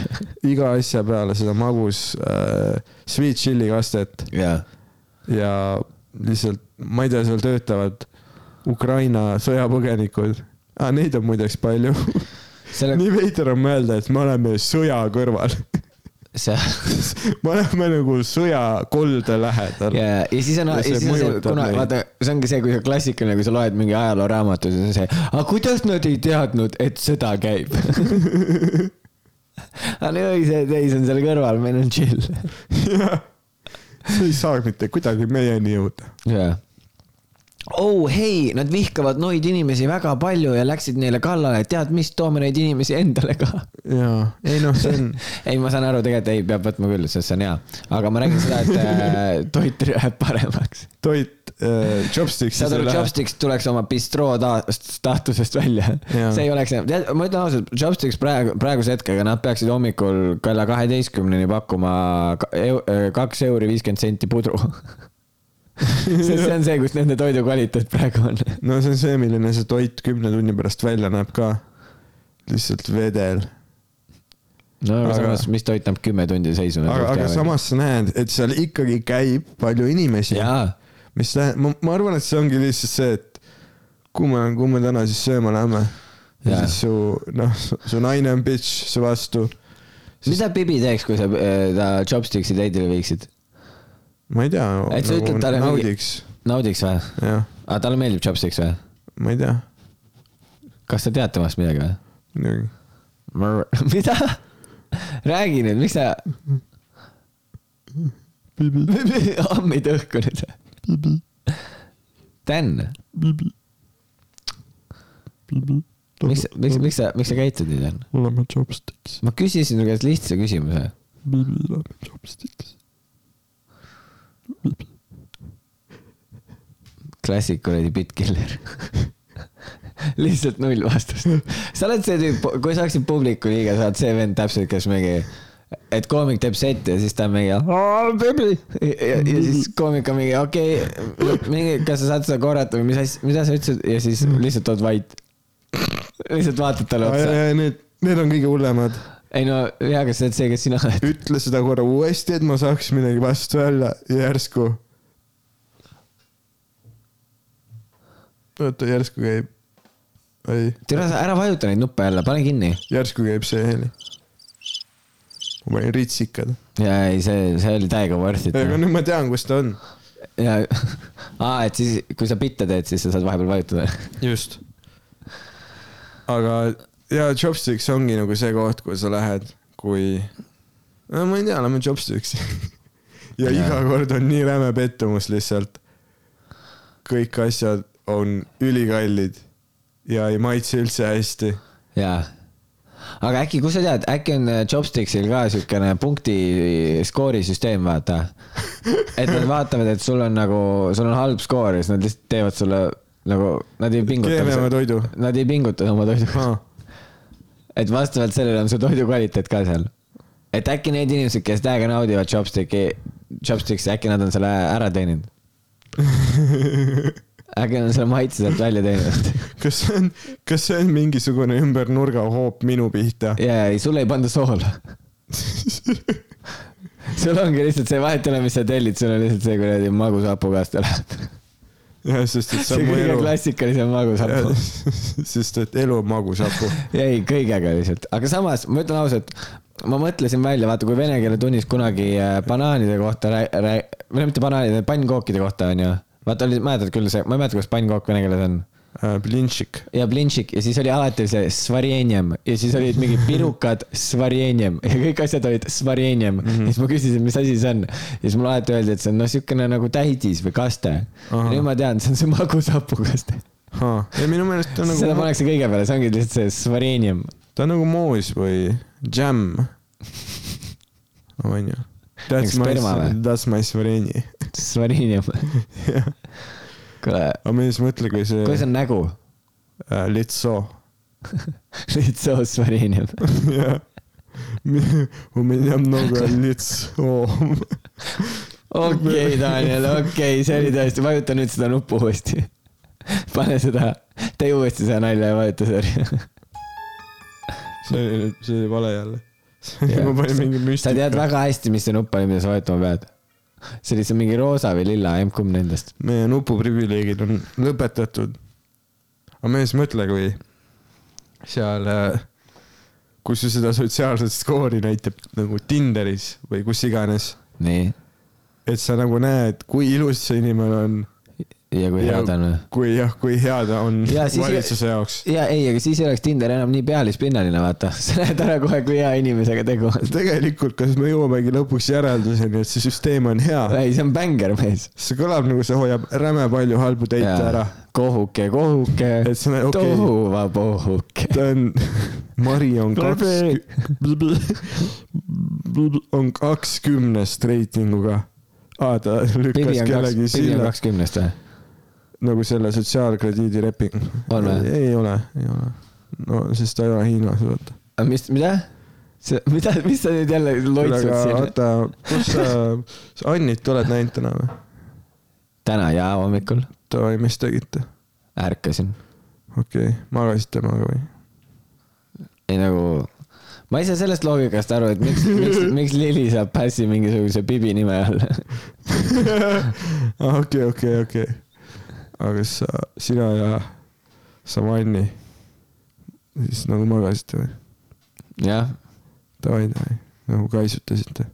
A: iga asja peale seda magus äh, sweet chili kastet
B: jaa .
A: ja lihtsalt , ma ei tea , seal töötavad Ukraina sõjapõgenikud ah, . Neid on muideks palju .
B: selle ,
A: nii veider on mõelda , et me oleme sõja kõrval . [laughs]
B: see
A: me oleme nagu sõjakolde lähedal
B: ja , ja siis on ,
A: Ja
B: ja
A: see
B: siis on see ,
A: mõjutab
B: kuna
A: neid.
B: vaata , see ongi see , kui sa klassikaline , kui sa loed mingi ajalooraamatu , siis on see , aga kuidas nad ei teadnud , et sõda käib ? aga nüüd oli see teis on seal kõrval , meil on chill .
A: Jah. see ei saa mitte kuidagi meieni jõuda .
B: jaa . oh hei , nad vihkavad noid inimesi väga palju ja läksid neile kallale , tead mis , toome neid inimesi endale ka .
A: jaa , ei noh , see on ,
B: [laughs] ei , ma saan aru , tegelikult ei , peab võtma küll , sest see on hea , aga ma räägin seda , et äh, toit läheb paremaks
A: [laughs] toit äh, , chopsticks .
B: saad aru , Chopsticks tuleks oma bistroo ta- staatusest välja .
A: Jaa.
B: see ei oleks , ma ütlen ausalt , Chopsticks praegu , praeguse hetkega nad peaksid hommikul kella kaheteistkümneni pakkuma ka- eu- kaks euri viiskümmend senti pudru . [laughs] sest see on see , kus nende toidu kvaliteet praegu on .
A: no see on see , milline see toit kümne tunni pärast välja näeb ka . lihtsalt vedel .
B: no aga
A: Aga-
B: samas , mis toit annab kümme tundi seisu ?
A: aga , aga . samas sa näed , et seal ikkagi käib palju inimesi .
B: jaa ,
A: mis tähendab , ma , ma arvan , et see ongi lihtsalt see , et kuhu me , kuhu me täna siis sööma läheme . ja
B: Jaa.
A: siis su , noh , su naine on bitch su vastu .
B: mida Bibi teeks , kui sa äh, ta Chopsticks'i teidele viiksid ?
A: ma ei tea .
B: Et sa ütled talle mingi-
A: nagu naudiks ,
B: naudiks või ?
A: jah ,
B: aga talle meeldib Chopsticks või ?
A: ma ei tea ,
B: kas sa tead temast midagi või ?
A: muidugi
B: [laughs] mida ? räägi nüüd , miks sa ? [laughs] ammid õhku nüüd . Dan , miks , miks , miks sa , miks sa käitud nii , Dan ?
A: oleme chopsticks .
B: ma küsisin su käest lihtsa küsimuse .
A: Bibi oleme chopsticks .
B: Classic kuradi bitkiller . [laughs] lihtsalt null vastust . sa oled see tüüp , kui sa oleksid publiku liige , sa oled see vend täpselt , kes mingi , et koomik teeb setti ja siis ta on mingi "Aa, baby!" ja, ja, ja siis koomik on mingi okei okay, , mingi , kas sa saad seda korrata või mis asja , mida sa ütlesid ja siis lihtsalt oled vait . lihtsalt vaatad talle otsa .
A: Need , need on kõige hullemad .
B: ei no hea , kas sa oled see , kes sina oled .
A: ütle seda korra uuesti , et ma saaks midagi vastu öelda ja järsku . oota , järsku käib . ei ,
B: türa , ära vajuta neid nuppe jälle , pane kinni .
A: järsku käib see heli . ma panin ritsikad .
B: ja ei , see , see oli täiega worth it . noh.
A: aga nüüd ma tean , kus ta on .
B: ja , [laughs] aa , et siis , kui sa bitte teed , siis sa saad vahepeal vajutada . [laughs]
A: just . aga ja chopsticks ongi nagu see koht , kuhu sa lähed , kui no ma ei tea , lähme chopsticksi . [laughs] ja iga kord on nii räme pettumus lihtsalt . kõik asjad on ülikallid ja ei maitse üldse hästi .
B: jaa . aga äkki , kus sa tead , äkki on äh, Chopsticksil ka siukene punkti skoorisüsteem , vaata . et nad vaatavad , et sul on nagu , sul on halb skoor ja siis nad lihtsalt teevad sulle nagu , nad ei
A: keemiame
B: pinguta .
A: toidu .
B: Nad ei pinguta oma toiduga .
A: aa ,
B: et vastavalt sellele on su toidu kvaliteet ka seal . et äkki need inimesed , kes täiega naudivad Chopsticki , Chopsticks , äkki nad on selle ära
A: [laughs]
B: teeninud . äkki nad on selle maitse sealt välja teeninud .
A: kas see on , kas see on mingisugune ümber nurga hoop minu pihta ?
B: ja , ei , sulle ei panda
A: [laughs]
B: soola . sul ongi lihtsalt see , vahet ei ole , mis sa tellid , sul on lihtsalt see kuradi magusapu käest ära .
A: jah , sest et see
B: see
A: on mu
B: kõige
A: elu .
B: klassikalisem magusapu .
A: [laughs] sest et elu on
B: [laughs]
A: magusapu .
B: ei , kõigega lihtsalt , aga samas ma ütlen ausalt , ma mõtlesin välja , vaata kui vene keele tunnis kunagi äh, banaanide kohta rää- , rää- , või no mitte banaanide , pannkookide kohta onju . vaata oli , mäletad küll see , ma ei mäleta , kuidas pannkook vene keeles on
A: Äh, Blintšik .
B: ja blintšik ja siis oli alati see svarjenjem ja siis olid
A: [laughs]
B: mingid pirukad svarjenjem ja kõik asjad olid svarjenjem mm .
A: Mhm.
B: -hmm. ja siis ma küsisin , mis asi see on ja siis mulle alati öeldi , et see on noh , siukene nagu täidis või kaste .
A: Ahah.
B: nüüd ma tean , see on see magusapu kaste .
A: ja minu meelest ta on
B: seda
A: nagu ,
B: pannakse kõige peale , see ongi lihtsalt see svarjenjem .
A: ta on nagu moos või džämm . onju . That's
B: Nagu
A: my
B: sperma , või?
A: that's my svareni .
B: svarjenjem . kuule ,
A: [laughs] aga ma siis mõtlen , kui
B: kuidas
A: see
B: on nägu ? [laughs]
A: äh, litso . [laughs]
B: lihtsalt svarjenjem .
A: jah . У меня
B: [laughs]
A: много лицо .
B: okei , Daniel , okei , see oli tõesti , vajuta nüüd seda nuppu uuesti . [laughs] pane seda , tee uuesti seda nalja ja vajuta [laughs] seda .
A: [laughs] see oli , see oli vale jälle . [laughs]
B: Jah.
A: ma panin mingi
B: sa tead
A: müstika .
B: väga hästi , mis see nupp oli , mida sa vajutama pead . see oli see mingi roosa või lilla , emb-kumb nendest .
A: meie nupuprivileegid on lõpetatud . aga ma just mõtlen , kui seal , kui sul seda sotsiaalset skoori näitab nagu Tinderis või kus iganes ,
B: nii .
A: et sa nagu näed , kui ilus see inimene on .
B: ja kui hea ta on või ?
A: kui jah , kui hea ta on
B: Ja siis-
A: valitsuse jaoks .
B: ja ei , aga siis ei oleks Tinder enam nii pealispinnaline , vaata . [laughs] sa näed ära kohe , kui hea inimesega tegu on .
A: tegelikult , kas me jõuamegi lõpuks järelduseni , et see süsteem on hea ?
B: ei , see on bängar mees .
A: see kõlab nagu see hoiab räme palju halbu teid ära .
B: kohuke , kohuke
A: Et sa näed, , [laughs] okei.
B: tohuva pohuke .
A: ta on , [laughs] Mari on kaks , on kakskümnest reitinguga . aa , ta lükkas
B: Bibi on kaks ,
A: kellegi
B: Bibi on
A: silla ,
B: kakskümnest või ?
A: nagu selle sotsiaalkrediidi leping .
B: On või?
A: ei ole , ei ole . no sest ta ei ole Hiinas , vaata .
B: aga mis , mida ? see , mida , mis sa nüüd jälle loitsud
A: aga
B: siin ?
A: oota , kus sa , sa Annit oled näinud täna või ?
B: täna ja hommikul
A: Davai , mis tegite ?
B: ärkasin .
A: okei okay. , magasite temaga või ?
B: ei nagu , ma ei saa sellest loogikast aru , et miks ,
A: [laughs]
B: miks , miks Lili saab passi mingisuguse Bibi nime all . [laughs]
A: Ah, okei , okei , okei . aga kas sa , sina ja Savanni siis nagu magasite või ?
B: jah ,
A: davai , davai , nagu kaisutasite .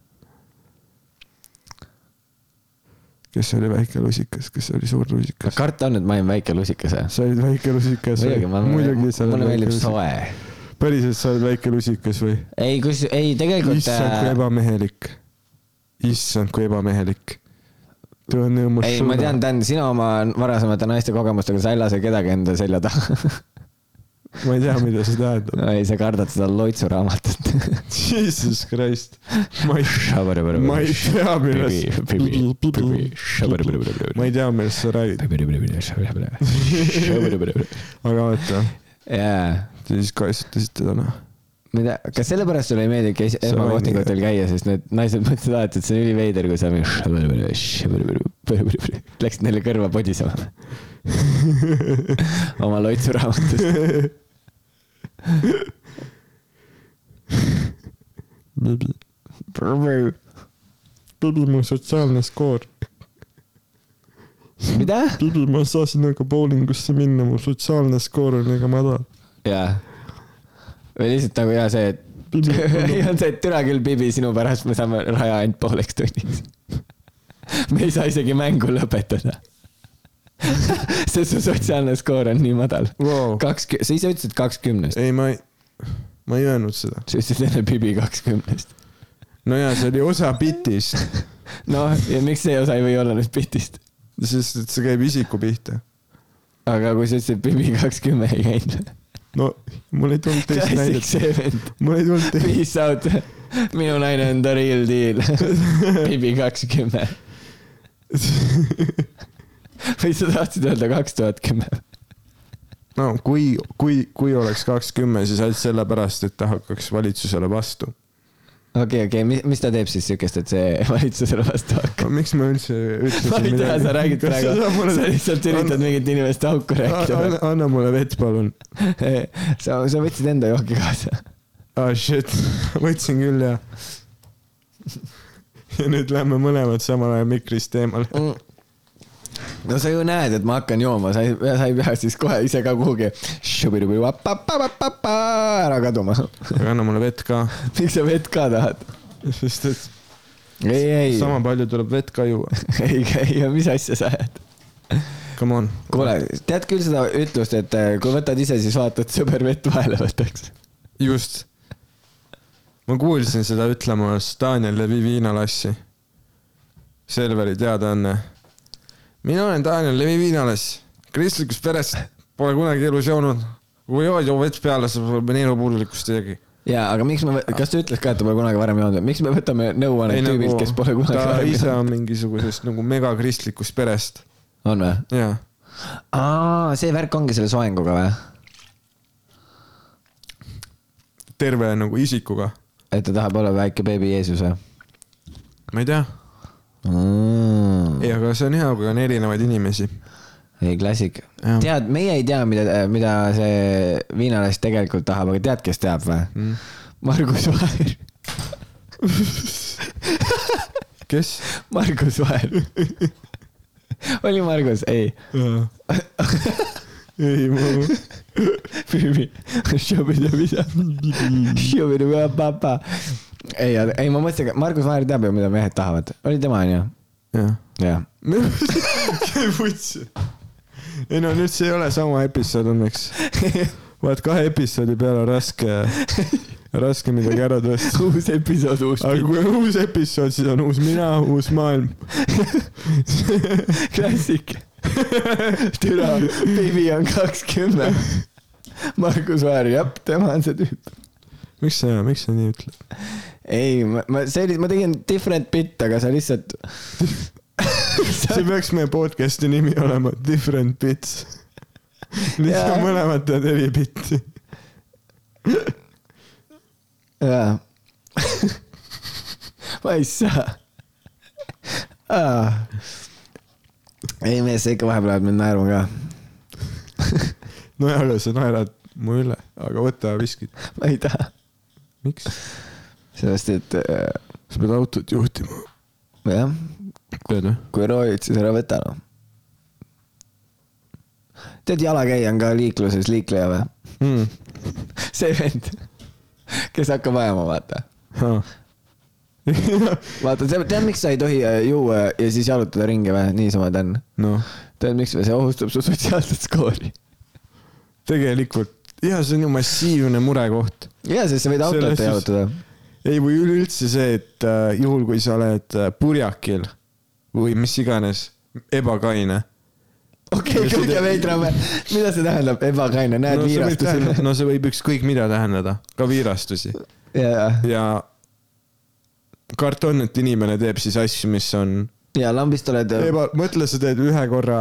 A: kes oli väike lusikas , kes oli suur lusikas ?
B: karta on , et ma olin väike lusikas või ?
A: sa olid väike lusikas või
B: muidugi ,? ma ,
A: muidugi sa oled väike
B: mulle meeldib
A: lusikas .
B: soe .
A: päriselt sa oled väike lusikas või ?
B: ei , kus , ei tegelikult äh,
A: issand kui , ebamehelik . issand kui ebamehelik . tule nii oma
B: ei , ma tean ,. Dan , sina oma varasemate naiste kogemustega , sa ei lase kedagi enda selja taha . [laughs]
A: ma ei tea , mida see tähendab .
B: ei , sa kardad seda loitsuraamatut . [laughs]
A: Jesus Christ . ma ei , ma ei
B: ma
A: tea , millest , ma ei tea , millest sa räägid ,
B: [laughs]
A: aga vaata ,
B: jaa ,
A: te siis noh. kaitsetasite täna .
B: ma ei tea , kas sellepärast sulle ei meeldi käis
A: See
B: esmakohtningutel käia , sest need naised mõtlesid alati , et see on üliveider , kui sa mingi läksid neile kõrva podisema oma loitsuraamatust .
A: Bibi , mu sotsiaalne skoor .
B: mida ?
A: Bibi , ma ei saa sinuga bowlingusse minna , mu sotsiaalne skoor on liiga madal .
B: jaa . või lihtsalt nagu jaa see , et [laughs] ei olnud see , et türa küll , Bibi , sinu pärast me saame raja ainult pooleks tunniks . [laughs] me ei saa isegi mängu lõpetada . [laughs] sest su sotsiaalne skoor on nii madal .
A: Wow.
B: kakskümmend , sa ise ütlesid kakskümnest ,
A: ei , ma ei , ma ei öelnud seda .
B: sa ütlesid enne Bibi kakskümnest .
A: no ja see oli osa bitist ,
B: noh , ja miks see osa ei või olla nüüd bitist ?
A: sest et see käib isiku pihta .
B: aga kui sa ütlesid , et Bibi kakskümmend ei käinud .
A: no mul ei tulnud teist
B: klassik
A: näidet ,
B: see vend .
A: mul ei tulnud teist .
B: Peace out . minu naine on the real deal . Bibi kakskümmend . või sa tahtsid öelda kaks tuhat kümme ?
A: no kui , kui , kui oleks kakskümmend , siis ainult sellepärast , et ta hakkaks valitsusele vastu .
B: okei , okei , mis , mis ta teeb siis siukest , et see valitsusele vastu hakkab ?
A: no miks ma üldse
B: ma
A: ütlesin
B: ei tea , sa räägid praegu , sa lihtsalt üritad mingit inimest auku rääkida
A: anna ,. anna mulle vett , palun .
B: sa , sa võtsid enda jooki kaasa .
A: ah shit , [laughs] võtsin küll ja . [laughs] ja nüüd lähme mõlemad samal ajal mikrist eemale .
B: no sa ju näed , et ma hakkan jooma , sa ei , sa ei pea siis kohe ise ka kuhugi šubidubidubapapapapapa ära kaduma .
A: aga anna mulle vett [laughs] ka ,
B: miks sa vett ka tahad ?
A: sest et
B: ei , ei ,
A: sama palju tuleb vett ka juua .
B: [laughs] ei , ei , mis asja sa ajad ?
A: Come on .
B: kuule , tead küll seda ütlust , et äh, kui võtad ise , siis vaata , et sõber vett vahele võtaks .
A: just . ma kuulsin seda ütlemas Daniel Levi viinalassi . Selveri teadaanne . mina olen Daniel Levi viinalass , kristlikus peres pole kunagi elus joonud . kui jood , joo vett peale , siis pole neelupuudulikkust teiegi .
B: jaa , aga miks me , kas ta ütles ka , et ta pole kunagi varem joonud või ? miks me võtame nõuannet tüübilt , kes pole kunagi
A: nagu ta
B: varem
A: ise
B: joonud ?
A: on mingisugusest nagu megakristlikust perest .
B: on või ?
A: jaa ,
B: aa , see värk ongi selle soenguga või ?
A: terve nagu isikuga .
B: et ta tahab olla väike beebi Jeesus või ?
A: ma ei tea ,
B: Mm.
A: ei , aga see on hea , kui on erinevaid inimesi .
B: ei , klassik .
A: Jah.
B: tead , meie ei tea , mida , mida see viinalass tegelikult tahab , aga tead , kes teab või mm. ? Margus Vaher ,
A: kes ?
B: Margus Vaher . oli Margus , ei ,
A: ei , ma
B: Bibi . ei , ei ma mõtlesin , Margus Vaher teab ju , mida mehed tahavad , oli tema onju ,
A: jah .
B: jah .
A: vutsi . ei no nüüd see ei ole sama episood õnneks . vaat kahe episoodi peale on raske , raske midagi ära tõsta .
B: uus episood , uus
A: aga kui on uus episood , siis on uus mina , uus maailm .
B: klassik . türa , Bibi on kakskümmend . Margus Vaher , jah , tema on see tüüp .
A: miks sa , miks sa nii ütled ?
B: ei , ma , ma , see oli , ma tegin different bit , aga sa [laughs] lihtsalt .
A: see peaks meie podcast'i nimi olema Different Bits .
B: Jaa.
A: lihtsalt mõlemad teevad eri bitti .
B: jaa . ma ei saa ah. . ei mees , sa ikka vahepeal ajad mind naerma ka .
A: nojah , aga sa naerad mu üle , aga võta viskit .
B: ma ei taha ,
A: miks ?
B: sellepärast et äh,
A: sa pead autot juhtima .
B: jah ,
A: tead või ?
B: kui roojud , siis ära võta noh . tead , jalakäija on ka liikluses liikleja või ?
A: Hmm.
B: see vend , kes hakkab ajama , vaata .
A: [laughs]
B: vaata , tead , miks sa ei tohi äh, juua ja siis jalutada ringi või , niisama ta on .
A: noh ,
B: tead , miks või , see ohustab su sotsiaalset skoori .
A: tegelikult ja see on ju massiivne murekoht .
B: ja , sest sa võid autot
A: Selles
B: jalutada .
A: ei , või üleüldse see , et äh, juhul kui sa oled äh, purjakil või mis iganes , ebakaine .
B: okei ,
A: Ja
B: kõige
A: seda-
B: veidram , mida see tähendab , ebakaine , näed
A: no see võib
B: viirastusi
A: tähendada- . no see võib ükskõik mida tähendada , ka viirastusi
B: ja ,
A: ja kart on , et inimene teeb siis asju , mis on
B: ja lambist oled .
A: eba , mõtle , sa teed ühe korra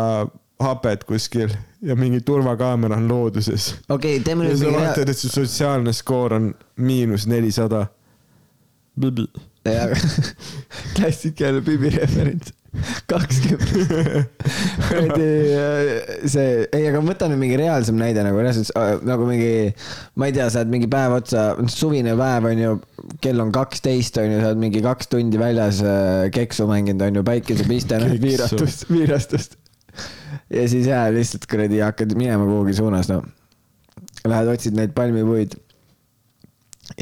A: hapet kuskil ja mingi turvakaamera on looduses .
B: okei , teeme
A: ja
B: nüüd
A: sa
B: mingi hea-
A: vaatad , et su sotsiaalne skoor on miinus nelisada .
B: [laughs] ja klassikaline Bibi referents , kakskümmend .
A: [laughs]
B: kuradi see , ei , aga võta nüüd mingi reaalsem näide nagu reaalselt äh, nagu mingi , ma ei tea , sa oled mingi päev otsa , suvine päev on ju , kell on kaksteist on ju , sa oled mingi kaks tundi väljas äh, keksu mänginud on ju , päikesepiste , noh
A: Keksu.
B: viirastust , viirastust . ja siis jah , lihtsalt kuradi hakkad minema kuhugi suunas noh . Lähed otsid neid palmipuid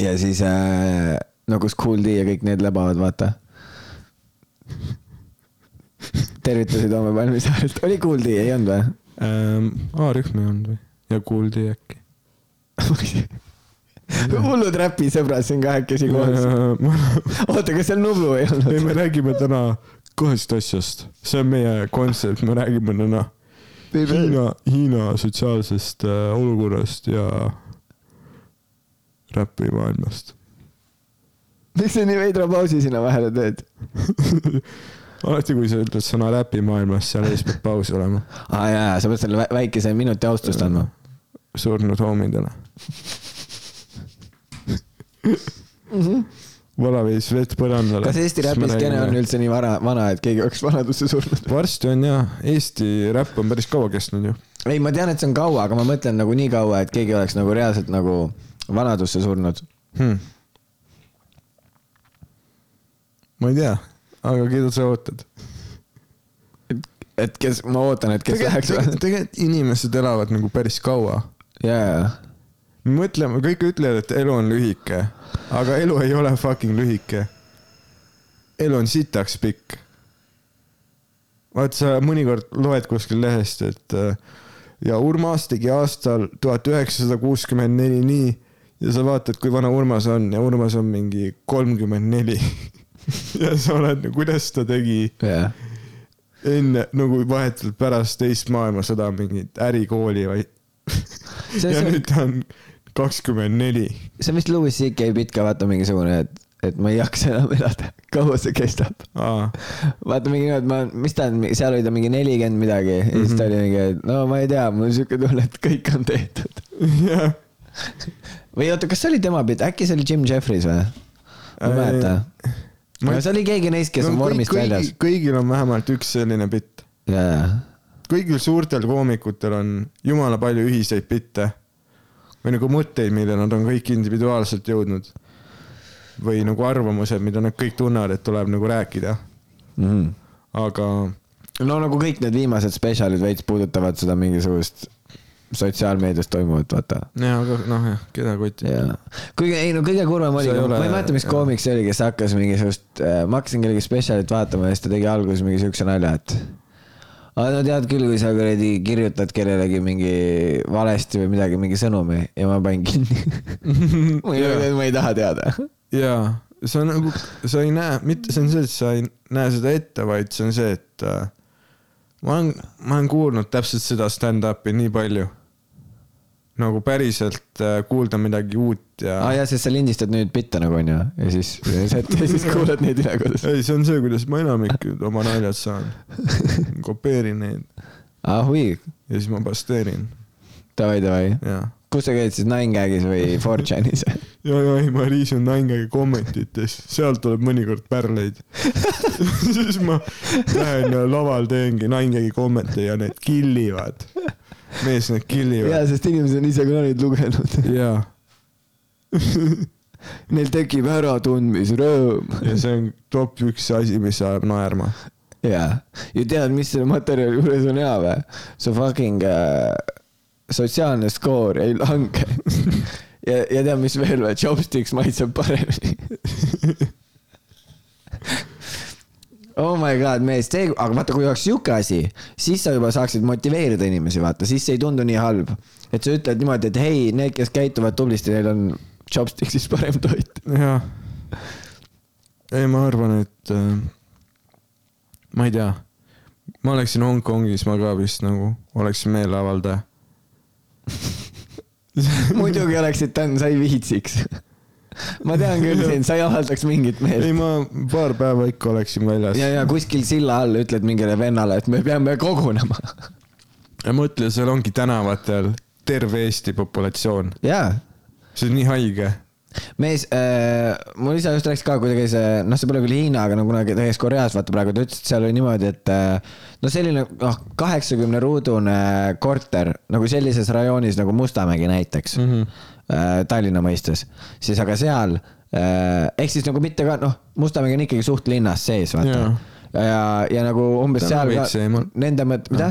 B: ja siis äh, no kus Kool D ja kõik need läbavad , vaata . tervitasid homme Palmisaarelt , oli Kool D , ei olnud või ?
A: Ähm, A-rühm ei olnud või ? ja kuuldi äkki .
B: [laughs] hullud räpisõbrad siin kahekesi koos .
A: [laughs]
B: oota , kas seal Nublu ei olnud ?
A: ei , me räägime täna kahest asjast , see on meie kontsept , me räägime täna Hiina , Hiina sotsiaalsest äh, olukorrast ja räpimaailmast . [laughs]
B: miks sa nii veidra pausi sinna vahele teed ?
A: alati , kui sa ütled sõna räpimaailmas , seal ees peab paus olema .
B: aa jaa , sa pead selle vä- väikese minuti austust andma .
A: surnud hoomidele . valaveis vett põrandale .
B: Mhm. kas Eesti räpiskene on ? üldse nii vara , vana , et keegi oleks vanadusse [laughs] surnud ?
A: varsti on jaa , Eesti räpp on päris kaua kestnud ju .
B: ei , ma tean , et see on kaua , aga ma mõtlen nagu nii kaua , et keegi oleks nagu reaalselt nagu vanadusse surnud .
A: hmm. . ma ei tea , aga keda sa ootad ?
B: et kes , ma ootan , et kes läheks .
A: tegelikult tegelikult inimesed elavad nagu päris kaua .
B: jaa ,
A: mõtleme , kõik ütlevad , et elu on lühike , aga elu ei ole fucking lühike . elu on sitaks pikk . vaat sa mõnikord loed kuskil lehest , et äh, ja Urmas tegi aastal tuhat üheksasada kuuskümmend neli nii ja sa vaatad , kui vana Urmas on ja Urmas on mingi kolmkümmend neli . [laughs] ja sa oled , kuidas ta tegi
B: jaa .
A: enne nagu vahetult pärast teist maailmasõda mingit ärikooli või
B: See-
A: ja
B: see-
A: nüüd ta on kakskümmend neli .
B: see on vist Louis CK pitka , vaata mingisugune , et , et ma ei jaksa enam elada . kaua see kestab ? vaata mingi , et ma , mis ta on , seal oli ta mingi nelikümmend midagi ja siis ta oli mingi , et no ma ei tea , mul on siuke tunne , et kõik on tehtud .
A: [laughs] jah ,
B: või oota , kas see oli tema pilt , äkki see oli Jim Jeffries või ? ma ei
A: Äh,
B: mäleta .
A: ma
B: no
A: ei-
B: see oli keegi neist , kes on vormist väljas .
A: kõigil on vähemalt üks selline bitt .
B: jaa , jaa .
A: kõigil suurtel koomikutel on jumala palju ühiseid bitte või nagu mõtteid , mille nad on kõik individuaalselt jõudnud . või nagu arvamused , mida nad kõik tunnevad , et tuleb nagu rääkida , aga
B: Mhm. no nagu kõik need viimased spetsialid veits puudutavad seda mingisugust sotsiaalmeedias toimuvat , vaata .
A: jah , aga noh , jah , keda kotib .
B: jaa , kuigi ei no kõige kurvem oli ,
A: See ei
B: ma
A: ole-
B: ei mäleta , mis
A: jah.
B: koomik see oli , kes hakkas mingisugust , ma hakkasin kellegi spetsialit vaatama ja siis ta tegi alguses mingi siukse nalja , et aga no tead küll , kui sa kuradi kirjutad kellelegi mingi valesti või midagi , mingi sõnumi ja ma panin kinni . [laughs]
A: [laughs]
B: ma ei- ma ei taha teada .
A: jaa , see on nagu , sa ei näe , mitte see on see , et sa ei näe seda ette , vaid see on see , et äh, ma olen , ma olen kuulnud täpselt seda stand-up'i nii palju . nagu päriselt äh, kuulda midagi uut ja
B: aa . jaa , sest sa lindistad nüüd bitte nagu onju ja siis , [laughs] ja siis kuulad neid üle kodus .
A: ei , see on see , kuidas ma enamik oma naljad saan . kopeerin neid
B: [laughs] ah huvi ,
A: ja siis ma pasteerin
B: davai , davai .
A: ja ,
B: kus sa käid siis Nine Gagis või 4chanis ?
A: ja , ja ei , ma riisun naingagi kommentites , sealt tuleb mõnikord
B: [laughs]
A: pärleid . siis ma lähen ja laval teengi naingagi kommenti ja need killivad . mees , need
B: jaa ,
A: killivad .
B: sest inimesed on ise ka neid lugenud .
A: [laughs] jaa ,
B: [laughs] Neil tekib äratundmisrõõm .
A: ja see on top üks asi , mis ajab naerma .
B: jaa , ja tead , mis selle materjali juures on hea või ? su fucking äh, sotsiaalne skoor ei lange . [laughs] ja , ja tead , mis veel või ? Chopsticks maitseb paremini . Oh my god , mees , see , aga vaata , kui oleks sihuke asi , siis sa juba saaksid motiveerida inimesi , vaata , siis see ei tundu nii halb . et sa ütled niimoodi , et hei , need , kes käituvad tublisti , neil on chopsticks'is parem toit .
A: jah . ei , ma arvan , et äh, ma ei tea , ma oleksin Hongkongis , ma ka vist nagu oleksin meeleavaldaja .
B: [laughs] muidugi oleksid ta , sa ei viitsiks . ma tean küll sind , sa ei avaldaks mingit
A: ei ,
B: meelt .
A: ma paar päeva ikka oleksin väljas .
B: ja , ja kuskil silla all ütled mingile vennale , et me peame kogunema .
A: ja mõtle , seal ongi tänavatel terve Eesti populatsioon ,
B: jaa ,
A: see on nii haige .
B: mees äh, , mul isa just rääkis ka , kui ta käis , noh , see pole küll Hiina , aga no kunagi ta käis Koreas , vaata praegu ta ütles , et seal oli niimoodi , et äh, no selline , noh , kaheksakümne ruudune korter nagu sellises rajoonis nagu Mustamägi näiteks mm , -hmm. äh, Tallinna mõistes , siis aga seal äh, ehk siis nagu mitte ka , noh , Mustamägi on ikkagi suht linnas sees , vaata
A: Jaa.
B: ja , ja nagu umbes
A: Ta on
B: seal
A: veits eemal.
B: nende mõt- , mida ?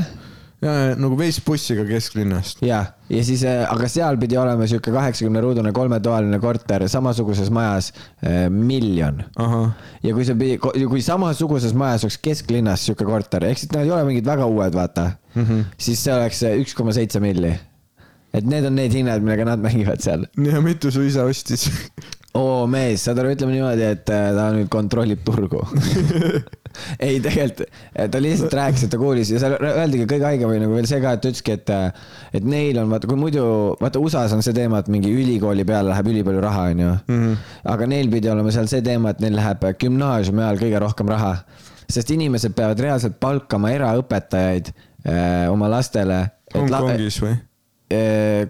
A: ja nagu veits bussiga kesklinnast .
B: ja , ja siis , aga seal pidi olema sihuke kaheksakümne ruudune kolmetoaline korter samasuguses majas äh, miljon .
A: ahah ,
B: ja kui see pidi , kui samasuguses majas oleks kesklinnas sihuke äh, korter , ehk siis nad ei ole mingid väga uued , vaata mm , -hmm. siis see oleks üks koma seitse milli . et need on need hinnad , millega nad mängivad seal .
A: ja mitu su isa ostis ?
B: oo mees , saad aru , ütleme niimoodi , et äh, ta nüüd kontrollib turgu . ei , tegelikult äh, ta lihtsalt rääkis , et ta kuulis ja seal rää- öeldigi kõige haigem oli nagu veel see ka , et ta ütleski , et , et neil on vaata , kui muidu vaata USA-s on see teema , et mingi ülikooli peale läheb ülipalju raha , onju . aga neil pidi olema seal see teema , et neil läheb äh, gümnaasiumi ajal kõige rohkem raha , sest inimesed peavad reaalselt palkama eraõpetajaid äh, oma lastele .
A: Hongkongis või ?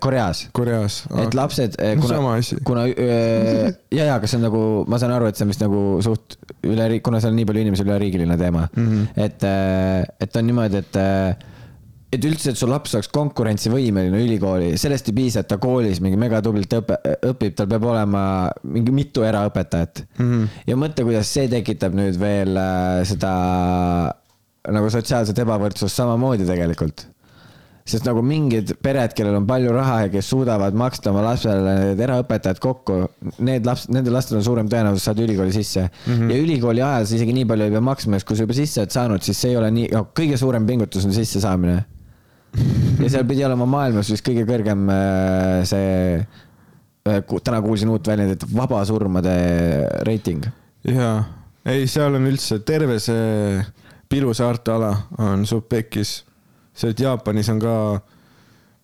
B: Koreas
A: Koreas ?
B: et lapsed ,
A: Ah. No
B: kuna
A: sama asi. ,
B: kuna öö, ja , ja , aga see on nagu , ma saan aru , et see on vist nagu suht üle , kuna seal on nii palju inimesi , üleriigiline teema mm .
A: Mhm.
B: -hmm. et , et on niimoodi , et , et üldse , et su laps oleks konkurentsivõimeline ülikooli , sellest ei piisa , et ta koolis mingi megatublilt õpe- , õpib , tal peab olema mingi mitu eraõpetajat mm . -hmm. ja mõtle , kuidas see tekitab nüüd veel äh, seda nagu sotsiaalset ebavõrdsust samamoodi tegelikult sest nagu mingid pered , kellel on palju raha ja kes suudavad maksta oma lastele need eraõpetajad kokku , need laps , nendel lastel on suurem tõenäosus saada ülikooli sisse mm . -hmm. ja ülikooli ajal sa isegi nii palju ei pea maksma , sest kui sa juba sisse oled saanud , siis see ei ole nii , no kõige suurem pingutus on sissesaamine . ja seal pidi olema maailmas vist kõige kõrgem äh, see , täna kuulsin uut väljendit , vabasurmade reiting .
A: jaa , ei , seal on üldse terve see Piru saarte ala on Supekis . seal Jaapanis on ka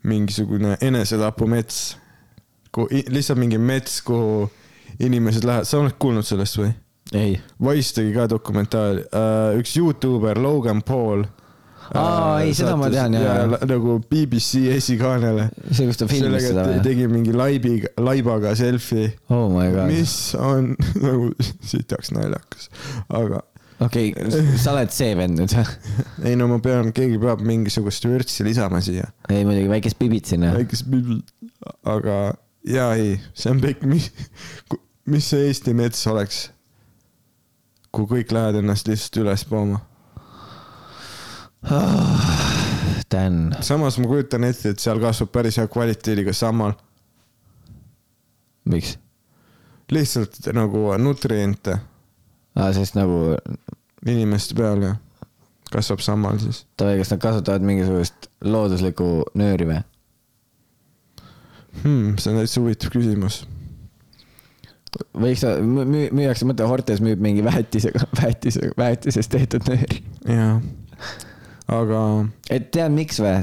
A: mingisugune enesetapumets . lihtsalt mingi mets , kuhu inimesed lähevad , sa oled kuulnud sellest või ?
B: ei .
A: Wise tegi ka dokumentaali , üks Youtuber , Logan Paul . Äh,
B: Aa, ei, seda ma tean, jaa.
A: nagu BBC esikaanele .
B: see , kus ta filmis seda
A: sellega te-
B: või ?
A: tegi mingi laibi , laibaga selfie ,
B: oh my god ,
A: mis on [laughs] nagu sitaks naljakas , aga
B: okei okay, , sa oled see vend nüüd või ?
A: ei no ma pean , keegi peab mingisugust vürtsi lisama siia ,
B: ei muidugi , väikest pibit sinna .
A: väikest , aga jaa , ei , see on kõik , mis , mis see Eesti mets oleks , kui kõik lähevad ennast lihtsalt üles pooma .
B: Dan .
A: samas ma kujutan ette , et seal kasvab päris hea kvaliteediga sammal ,
B: miks ?
A: lihtsalt nagu nutriente
B: aa , sest nagu ,
A: inimeste peale kasvab sammal siis .
B: davai , kas nad kasutavad mingisugust looduslikku nööri või ?
A: hmm, . see on täitsa huvitav küsimus .
B: võiks , müüakse , mõtle , Hortes müüb mingi väetisega , väetisega , väetisest tehtud nööri .
A: jaa , aga
B: et tead , miks või ?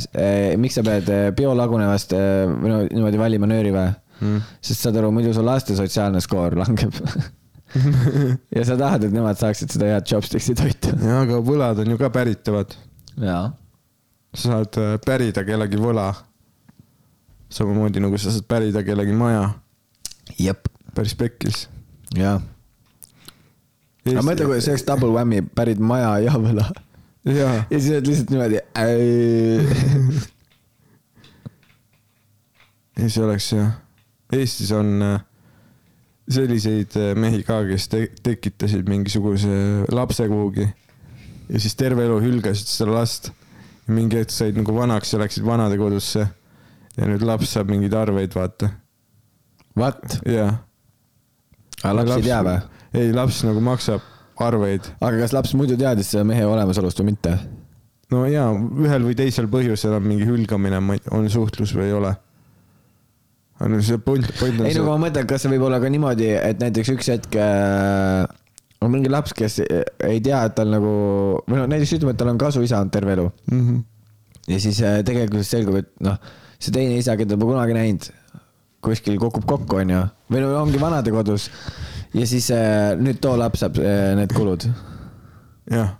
B: miks sa pead eh, biolagunevast eh, või no niimoodi valima nööri või ?
A: hmm.
B: sest saad aru , muidu su laste sotsiaalne skoor [laughs] langeb . ja sa tahad , et nemad saaksid seda head chopsticks'i toitu .
A: jaa , aga võlad on ju ka päritavad .
B: jaa .
A: sa saad äh, pärida kellegi võla . samamoodi nagu sa saad pärida kellegi maja ,
B: jep .
A: päris pekkis .
B: jaa . aga mõtle , kui see oleks double whammy , pärid maja ja võla
A: jaa ,
B: ja siis oled lihtsalt niimoodi .
A: [laughs] ei see oleks jah . Eestis on äh, selliseid äh, mehi ka , kes te tekitasid mingisuguse lapse kuhugi ja siis terve elu hülgasid seda last . mingi hetk said nagu vanaks ja läksid vanadekodusse ja nüüd laps saab mingeid arveid , vaata .
B: What ?
A: jaa .
B: aga laps ei tea või ??
A: ei , laps nagu maksab arveid .
B: aga kas laps muidu teadis selle mehe olemasolust või mitte ?
A: no jaa , ühel või teisel põhjusel on mingi hülgamine , on suhtlus või ei ole . aga no see point , point on
B: ei nagu- no
A: see ,
B: ma mõtlen , kas see võib olla ka niimoodi , et näiteks üks hetk äh, on mingi laps , kes ei tea , et tal nagu , või no näiteks ütleme , et tal on kasuisa olnud terve elu
A: mm -hmm.
B: ja siis äh, tegelikult selgub , et noh , see teine isa , keda ma kunagi näinud , kuskil kukub kokku , onju , või no ongi vanadekodus ja siis äh, nüüd too laps saab äh, need kulud .
A: jah ,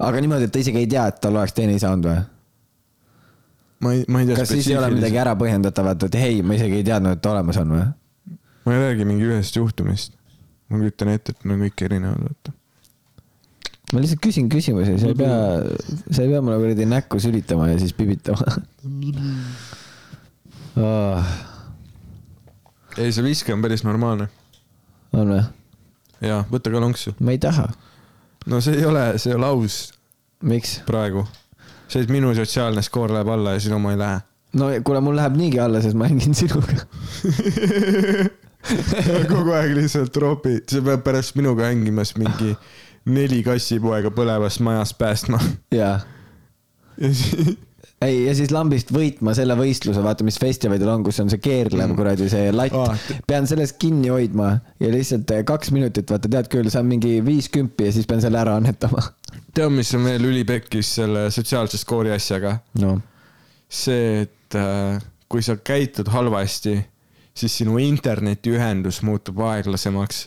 B: aga niimoodi , et ta isegi ei tea , et tal oleks teine isa olnud või ?
A: ma ei , ma ei tea .
B: kas siis ei ole midagi ära põhjendatavat , et hei , ma isegi ei teadnud , et olemas on või ?
A: ma ei räägi mingi ühest juhtumist . ma kujutan ette , et need on kõik erinevad , vaata .
B: ma lihtsalt küsin küsimusi , sa ei pea , sa ei pea mulle kuradi näkku sülitama ja siis pibitama oh, .
A: ei , see viske on päris normaalne .
B: on või ?
A: jaa , võta ka lonksu .
B: ma ei taha .
A: no see ei ole , see ei ole aus
B: miks ?
A: praegu . see , et minu sotsiaalne skoor läheb alla ja sinu oma ei lähe .
B: no kuule , mul läheb niigi alla , sest ma hängin sinuga .
A: [laughs] kogu aeg lihtsalt tropi , sa pead pärast minuga hängimas mingi neli kassipoega põlevast majast päästma .
B: jaa .
A: ja siis
B: ei , ja siis lambist võitma selle võistluse , vaata , mis festivalidel on , kus on see keerlev kuradi see latt
A: Aa,
B: oh. . pean sellest kinni hoidma ja lihtsalt eh, kaks minutit , vaata , tead küll , saan mingi viis kümpi ja siis pean selle ära annetama .
A: tead , mis on veel ülipekkis selle sotsiaalse skoori asjaga ?
B: noh ,
A: see , et äh, kui sa käitud halvasti , siis sinu internetiühendus muutub aeglasemaks .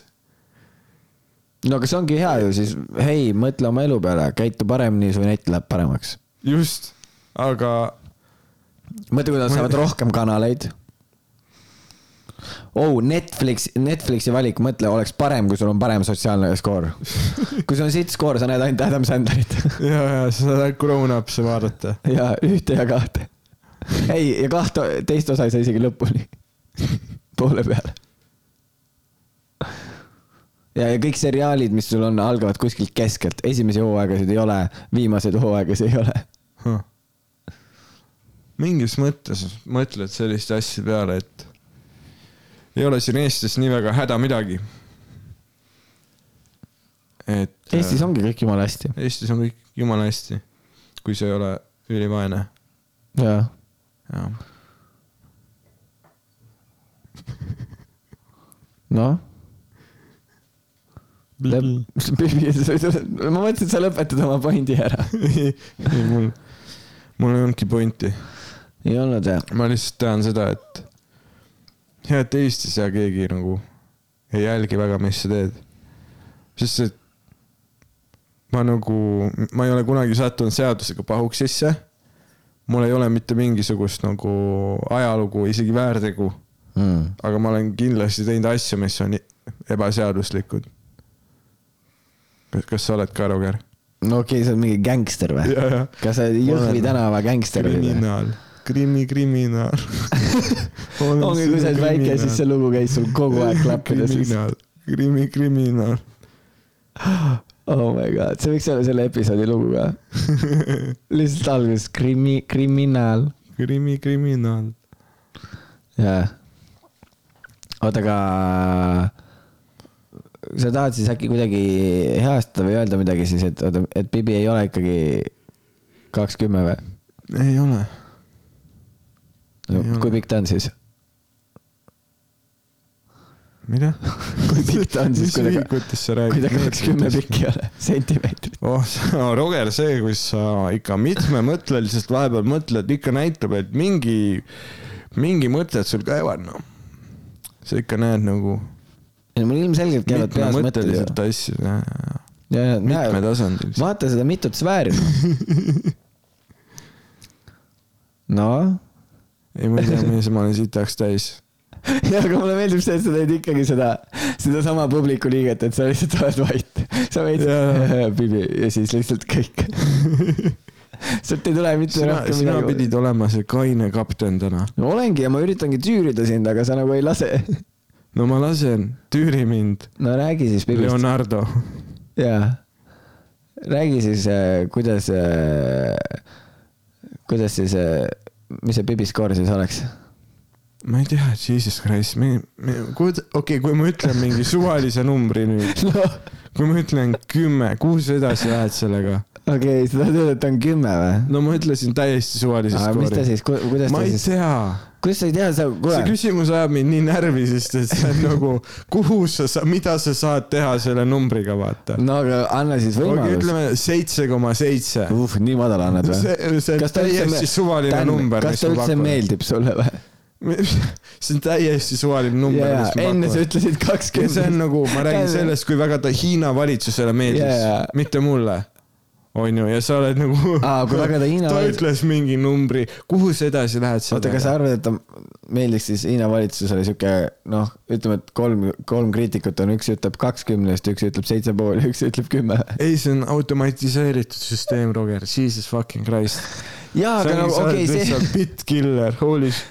B: no aga see ongi hea ju siis , hei , mõtle oma elu peale , käitu paremini , su net läheb paremaks .
A: just , aga
B: mõtle , kui nad saavad rohkem kanaleid . oh , Netflix , Netflixi valik , mõtle , oleks parem , kui sul on parem sotsiaalne skoor . kui sul on sitt skoor , sa näed ainult Adam Sandlerit [laughs]
A: ja , ja sa saad ainult Grown Ups'e vaadata .
B: ja ühte ja kahte . ei , ja kahte , teist osa ei saa isegi lõpuni . [laughs] poole peale . ja , ja kõik seriaalid , mis sul on , algavad kuskilt keskelt , esimesi hooaegasid ei ole , viimaseid hooaegasid ei ole .
A: Huh. mingis mõttes mõtled selliste asjade peale , et ei ole siin Eestis nii väga häda midagi . et .
B: Eestis ongi kõik jumala hästi .
A: Eestis on kõik jumala hästi , kui sa ei ole ülivaene .
B: jaa . noh .
C: Bibi.
B: [laughs] ma mõtlesin , et sa lõpetad oma pointi ära .
A: ei , mul , mul ei olnudki pointi ,
B: [laughs] ei olnud jah ?
A: ma lihtsalt tean seda , et hea , et Eestis ja keegi nagu ei jälgi väga , mis sa teed . sest et ma nagu , ma ei ole kunagi sattunud seadusega pahuks sisse . mul ei ole mitte mingisugust nagu ajalugu , isegi väärtegu ,
B: Mm.
A: aga ma olen kindlasti teinud asju , mis on i- ebaseaduslikud . kas , kas sa oled ka , Roger ?
B: no okei okay, , sa oled mingi gängster või ?
A: jajah .
B: kas sa oled Jõhvi
A: Olen.
B: tänava gängster või ?
A: kriminaal , krimi , kriminaal .
B: [laughs] ongi , kui sa oled väike , siis see lugu käis sul kogu
A: [laughs]
B: aeg klappides .
A: kriminaal , krimi , kriminaal .
B: oh my god , see võiks olla selle episoodi lugu
A: [laughs]
B: ka . lihtsalt alguses krimi- , kriminaal .
A: krimi , kriminaal .
B: jaa . oota , aga sa tahad siis äkki kuidagi heastada või öelda midagi siis , et oota , et Bibi ei ole ikkagi kakskümmend või ?
A: ei ole . Ei ole.
B: kui pikk ta on siis ? [laughs]
A: mida ?
B: kui pikk ta on siis , kui
A: mis
B: ta ,
A: ühikutest sa
B: kui ta kakskümmend
A: räägid ?
B: pikk ei ole ? [laughs] sentimeetrit .
A: oh sa- Roger , see , kus sa ikka mitmemõtteliselt vahepeal mõtled , ikka näitab , et mingi , mingi mõtted sul käivad , noh . sa ikka näed nagu
B: ei no mul ilmselgelt käivad peas mõtted ju
A: mitmemõtteliselt . asju ,
B: mitmetasandil
A: mitmetasandilisi.
B: vaata seda mitut sfääri . [laughs] noh ,
A: ei ma ei tea , mees , ma olen sitaks täis
B: ja aga mulle meeldib see , et sa teed ikkagi seda , sedasama publiku liiget , et sa lihtsalt oled vait . sa veid
A: Jaa.
B: [laughs] pibi ja siis lihtsalt [laughs]
A: [laughs]
B: kõik . sealt ei tule mitte
A: sina ,
B: rohkem
A: sina
B: midagi .
A: pidid olema see kaine kapten täna .
B: no olengi ja ma üritangi tüürida sind , aga sa nagu ei lase .
A: no ma lasen , tüüri mind ,
B: [laughs] no räägi siis pibist .
A: Leonardo .
B: jaa . räägi siis , kuidas , kuidas siis , mis see Bibi skoor siis oleks ?
A: ma ei tea , jesus christ , me , me , kuid- , okei okay, , kui ma ütlen mingi suvalise numbri nüüd ,
B: [laughs] no
A: kui ma ütlen kümme , kuhu sa edasi lähed sellega ?
B: okei okay, , sa tahad öelda , et ta on kümme või ?
A: no ma ütlesin täiesti suvalise
B: aga mis ta
A: skoori .
B: siis , kuidas
A: ma
B: ta
A: ei
B: siis ,
A: tea ,
B: kuidas sa ei tea , sa ,
A: see
B: kuule ,
A: küsimus ajab mind nii närvi , sest et see
B: [laughs]
A: on nagu , kuhu sa sa- , mida sa saad teha selle numbriga , vaata .
B: no aga anna siis
A: okei ,
B: võimalus .
A: ütleme seitse koma seitse .
B: uh , nii madal annad või ?
A: see , see on
B: Kas ta üldse
A: täiesti
B: me-
A: suvaline number .
B: kas ta üldse meeldib sulle või ?
A: [laughs] see on täiesti suvaline number
B: jaa ,
A: mis ma
B: enne sa
A: pakun.
B: ütlesid
A: ja see on
B: kakskümmend .
A: nagu , ma
B: [laughs]
A: räägin
B: Tähendab-
A: sellest , kui väga ta Hiina valitsusele meeldis
B: Jaa, jaa.
A: mitte mulle . onju , ja sa oled nagu .
B: Aa, kui väga ta Hiina
A: [laughs] ta
B: valitsus-
A: ütles mingi numbri , kuhu sa edasi lähed
B: oota , kas sa
A: sellega ?
B: arvad , et ta meeldiks siis Hiina valitsusele sihuke noh , ütleme , et kolm , kolm kriitikut on , üks ütleb kakskümnest , üks ütleb seitse pool ja üks ütleb kümme .
A: ei , see on automatiseeritud süsteem , Roger , jesus fucking christ .
B: jaa , aga
A: nagu
B: no okei , see nagu
A: bitt killer , holy sh-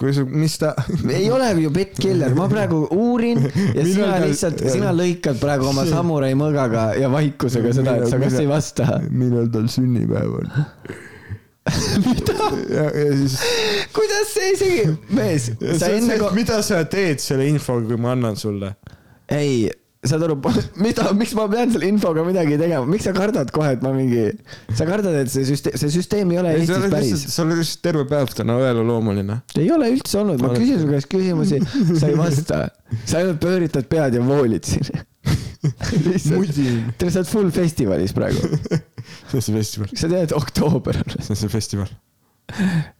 A: kui sa , mis
B: [laughs]
A: ta .
B: ei ole ju bittkiller , ma praegu uurin ja
A: Millal
B: sina
A: ta-
B: lihtsalt , sina lõikad praegu oma samurai mõõgaga ja vaikusega seda , et sa kas ei vasta .
A: millal tal sünnipäev on ? mida ? ja siis
B: kuidas see isegi , mees ,
A: Ja
B: sa
A: see on
B: enne
A: see, et
B: ko- ,
A: mida sa teed selle infoga , kui ma annan sulle ?
B: ei , saad aru , [laughs] mida , miks ma pean selle infoga midagi tegema , miks sa kardad kohe , et ma mingi , sa kardad , et see süsteem , see süsteem ei ole
A: ei , sa
B: Eestis
A: oled
B: päris
A: lihtsalt , sa oled lihtsalt terve päev täna õeluloomuline .
B: ei ole üldse olnud , ma
A: Oled.
B: küsin su käest küsimusi , sa ei vasta . sa ainult pööritad pead ja voolid siin .
A: [laughs] Mudin.
B: lihtsalt , sa oled full festivalis praegu .
A: see on see festival ,
B: sa tead , oktoober on ,
A: see on see festival .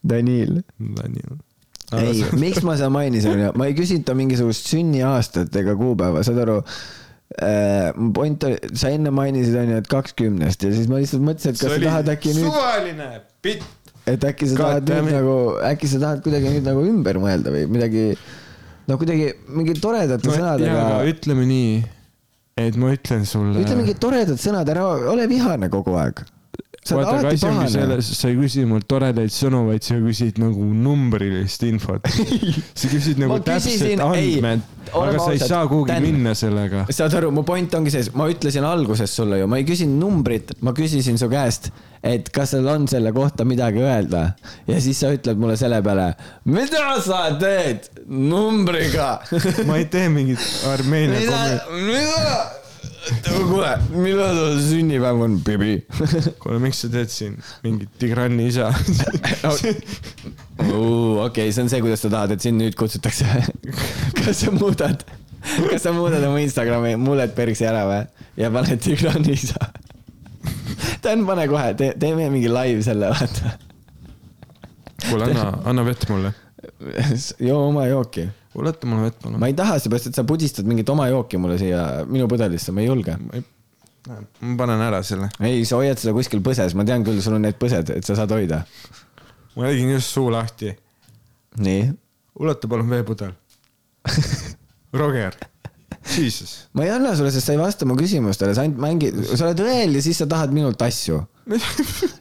B: Daniil .
A: nii on .
B: ei , miks ma seda mainisin , onju , ma ei küsinud ta mingisugust sünniaastat ega kuupäeva , saad aru äh, . mu point oli , sa enne mainisid , onju , et kakskümnest ja siis ma lihtsalt mõtlesin , et kas sa tahad äkki nüüd ,
A: suvaline pitt .
B: et äkki sa
A: God
B: tahad
A: damn
B: nüüd
A: it.
B: nagu , äkki sa tahad kuidagi nüüd nagu ümber mõelda või midagi , no kuidagi mingi toredate
A: no jaa , aga
B: sõnadega .
A: ütleme nii , et ma ütlen sulle .
B: ütle mingid toredad sõnad , ära ole vihane kogu aeg . sa oled
A: vaata , aga
B: alati
A: asi ongi
B: pahane .
A: selles , sa ei küsi mult toredaid sõnu , vaid sa küsid nagu numbrilist
B: [laughs]
A: infot . sa küsid nagu
B: Ma
A: täpset
B: küsisin- ei,
A: andmed ,
B: oleme
A: aga sa ei
B: ausad,
A: saa kuhugi
B: Dan.
A: minna sellega .
B: saad aru , mu point ongi selles , ma ütlesin alguses sulle ju , ma ei küsinud numbrit , ma küsisin su käest , et kas sul on selle kohta midagi öelda ja siis sa ütled mulle selle peale , mida sa teed numbriga ?
A: ma ei tee mingit Armeenia
B: mida , mida ? kuule , millal sul sünnipäev on , beebi ?
A: kommi- kuule , miks sa teed siin mingit Tigrani [laughs] isa ?
B: okei , see on see , kuidas sa tahad , et sind nüüd kutsutakse . [laughs] kas sa muudad , kas sa muudad oma Instagrami mullet periksi ära või ja paned Tigrani isa ? Dan , pane kohe , tee , teeme mingi live selle , vaata .
A: kuule , anna , anna vett mulle .
B: joo oma jooki .
A: kuule , jäta mulle vett , palun .
B: ma ei taha , seepärast , et sa pudistad mingit oma jooki mulle siia minu pudelisse , ma ei julge .
A: ma panen ära selle .
B: ei , sa hoiad seda kuskil põses , ma tean küll , sul on need põsed , et sa saad hoida .
A: ma tegin just suu lahti .
B: nii
A: ulata palun [laughs] veepudel . Roger , Jesus .
B: ma ei anna sulle , sest sa ei vasta mu küsimustele , sa ainult mängid , sa oled õel ja siis sa tahad minult
A: [laughs]
B: asju .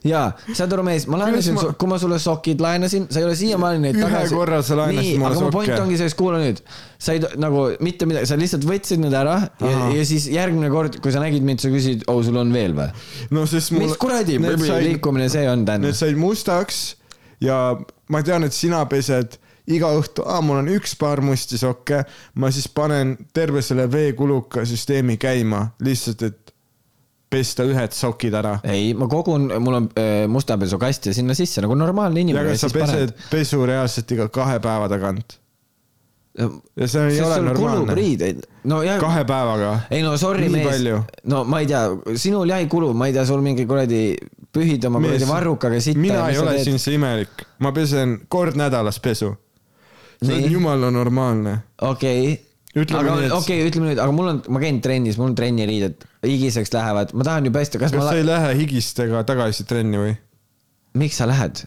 B: jaa , saad aru , mees , ma laenasin
A: Kuidas ma-
B: ma... , kui ma sulle sokid laenasin , sa ei ole siiamaani neid
A: Ühe
B: tagasi .
A: korra sa laenasid mulle
B: sokke . aga mu point
A: sokke.
B: ongi selles , kuula nüüd , sa ei to- nagu mitte midagi , sa lihtsalt võtsid need ära ja,
A: Ahah.
B: ja siis järgmine kord , kui sa nägid mind , sa küsid , oo , sul on veel või ?
A: no sest mul .
B: mis kuradi sai... liikumine see on , Dan ?
A: Need said mustaks ja ma tean , et sina pesed iga õhtu , aa , mul on üks paar musti sokke , ma siis panen terve selle veekuluka süsteemi käima lihtsalt , et pesta ühed sokid ära .
B: ei , ma kogun , mul on äh, mustapesukast ja sinna sisse nagu normaalne
A: ja
B: inimene .
A: kas sa pesed pesu reaalselt iga kahe päeva tagant
B: Äh,
A: ja see ei ole normaalne .
B: riideid , no jah .
A: kahe päevaga .
B: ei no sorry ,
A: Nii
B: mees
A: palju. ,
B: no ma ei tea , sinul jah ei kulu , ma ei tea , sul mingi kuradi pühid oma kuradi varrukaga sitta .
A: mina ei ole siin . see imelik , ma pesen kord nädalas pesu . see on
B: Nii.
A: jumala normaalne .
B: okei .
A: Ütleme
B: aga
A: nii, et-
B: okei okay, , ütleme nüüd , aga mul on , ma käin trennis , mul on trenniriided , higiseks lähevad , ma tahan ju pesta , kas
A: kas
B: ma
A: sa
B: la...
A: ei , lähe higistega tagasi trenni või ?
B: miks sa lähed ?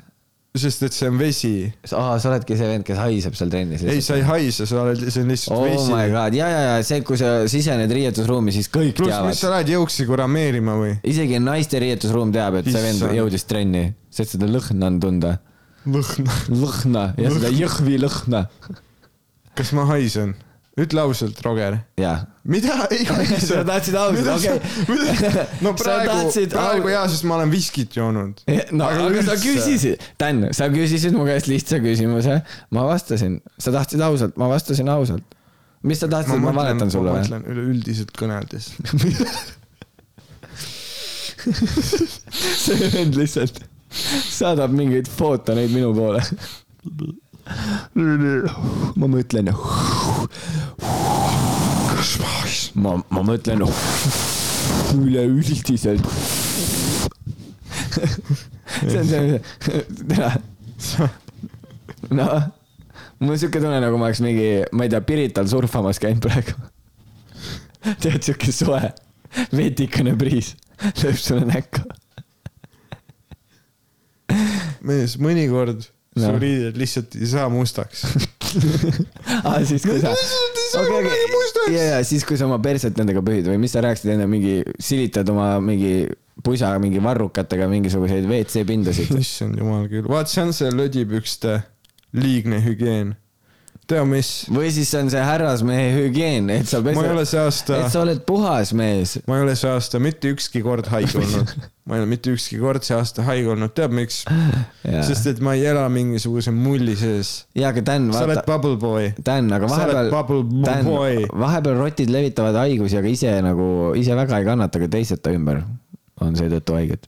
A: sest et see on vesi
B: aa , sa oledki see vend , kes haiseb seal trennis .
A: ei , sa ei haise , sa oled , see on lihtsalt
B: oh
A: vesi
B: my . god , ja , ja , ja see , kui sa sisened riietusruumi , siis kõik Plus,
A: pluss , mis
B: teavad .
A: sa lähed jõuksiga rameerima või ?
B: isegi naiste riietusruum teab , et see vend
A: Issand.
B: jõudis trenni , sest seda lõhna on tunda .
A: lõhna .
B: lõhna ja seda jõhvi lõhna .
A: kas ma haisen ? ütle ausalt , Roger .
B: jaa
A: mida ? ei haise .
B: [laughs] Sa tahtsid ausalt, okei.
A: no
B: Sa
A: praegu ,
B: tahtsid
A: praegu
B: au-
A: jaa , sest ma olen viskit joonud .
B: Eh, no aga, aga sa
A: üldse.
B: küsisid , Dan , sa küsisid mu käest lihtsa küsimuse , ma vastasin , sa tahtsid ausalt , ma vastasin ausalt . mis sa tahtsid , ma valetan sulle
A: ma
B: või ?
A: mõtlen üleüldiselt kõneldes .
B: [laughs] see vend lihtsalt saadab mingeid footoneid minu poole . ma mõtlen . ma , ma mõtlen üleüldiselt . see on see , tere noh , mul on siuke tunne , nagu ma oleks mingi , ma ei tea , Pirital surfamas käinud praegu . tead , siuke soe , vetikene priis lööb sulle näkku .
A: mees , mõnikord su
B: Jah.
A: riided lihtsalt ei saa
B: [laughs]
A: mustaks .
B: aa , Ah, siis kui sa . ja , ja siis , kui sa oma perset nendega pühid või mis sa rääkisid enne , mingi silitad oma mingi pusa mingi varrukatega mingisuguseid WC pindasid .
A: issand jumal küll , vaat see on see lödipükste liigne hügieen . tea mis ,
B: või siis see on see härrasmehe hügieen , et sa
A: ma ei ole
B: pesed ,
A: see aasta
B: et , sa oled puhas mees .
A: ma ei ole see aasta mitte ükski kord haige olnud . ma ei ole mitte ükski kord see aasta haige olnud , tead miks ? sest et ma ei ela mingisuguse mulli sees .
B: ja , aga Dan ,
A: sa oled
B: vaata ,
A: bubble boy .
B: Dan , aga
A: sa oled
B: vahepeal ,
A: bubble
B: Dan ,
A: boy .
B: vahepeal rotid levitavad haigusi , aga ise nagu , ise väga ei kannata , aga teised ta ümber on seetõttu haiged .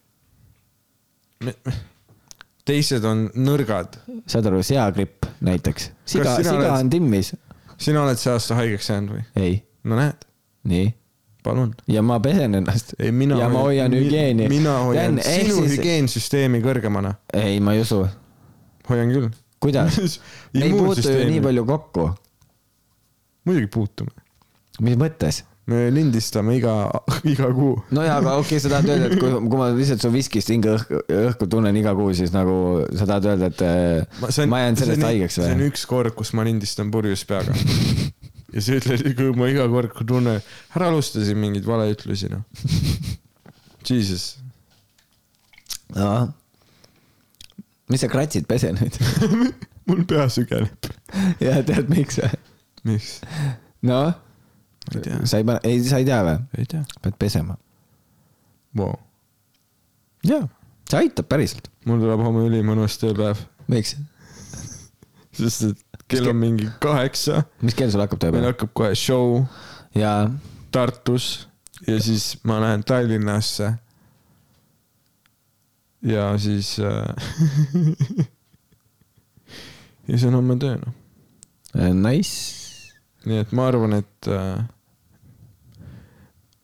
A: teised on nõrgad .
B: saad aru , seagripp näiteks . siga ,
A: sina
B: siga
A: oled-
B: on timmis .
A: sina oled see aasta haigeks jäänud või ?
B: ei ,
A: no näed ,
B: nii .
A: palun .
B: ja ma pesen ennast .
A: ei , mina .
B: ja ma hoian hügieeni .
A: mina hoian sinu
B: siis... hügieeni .
A: hügieensüsteemi kõrgemana .
B: ei , ma ei usu .
A: hoian küll . [laughs]
B: [laughs] kuidas ? me ei puutu ju nii . palju kokku .
A: muidugi puutume .
B: mis mõttes ?
A: me lindistame iga , iga kuu .
B: no jaa , aga okei okay, , sa tahad öelda , et kui , kui ma lihtsalt su viskist hinge õhku , õhku tunnen iga kuu , siis nagu sa tahad öelda , et äh, ma, on, ma jään sellest haigeks
A: see on
B: või ?
A: üks kord , kus ma lindistan purjus
B: [laughs]
A: peaga . ja sa ütled , kui ma iga kord , kui tunnen , ära alusta siin mingeid valeütlusi , noh . Jesus .
B: mis sa kratsid , pese nüüd . [laughs]
A: mul pea sügeleb .
B: ja tead , miks või ?
A: miks ?
B: noh ,
A: ma ei tea ,
B: sa ei pane , ei , sa ei tea või ?
A: ei tea .
B: pead pesema .
A: Vau .
B: jaa , see aitab päriselt .
A: mul tuleb homme ülimõnus tööpäev ,
B: miks ?
A: sest et kell on mingi kaheksa ,
B: mis kell sul hakkab
A: meil
B: tööpäev ?
A: hakkab kohe show
B: jaa ,
A: Tartus ja siis ma lähen Tallinnasse . ja siis äh, . [laughs] ja siis on homme töö noh ,
B: Äh, nice .
A: nii et ma arvan , et äh,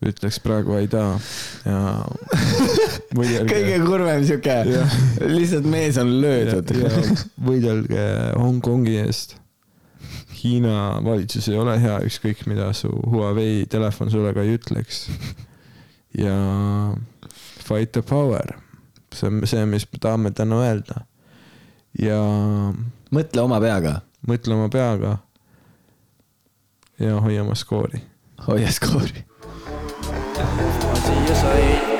A: ütleks praegu ei taha ja .
B: kõige kurvem siuke ,
A: Jah.
B: lihtsalt mees on löödud .
A: võidelge Hongkongi eest . Hiina valitsus ei ole hea , ükskõik mida su Huawei telefon sulle ka ei ütleks . ja fight the power , see on see , mis me tahame täna öelda . ja
B: mõtle oma peaga ,
A: mõtle oma peaga . ja hoia oma skoori .
B: hoia skoori .
D: on siia sõin ,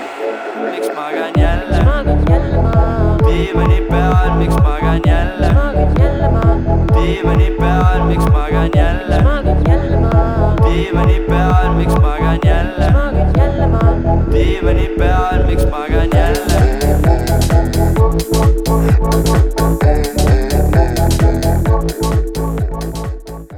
D: miks magan jälle ,
E: Smagen jälle maha ,
D: diivani peal , miks magan jälle ,
E: smagen jälle maha ,
D: diivani peal , miks magan jälle ,
E: smagen jälle maha ,
D: diivani peal , miks magan jälle ,
E: smagen jälle maha ,
D: diivani peal , miks magan jälle ,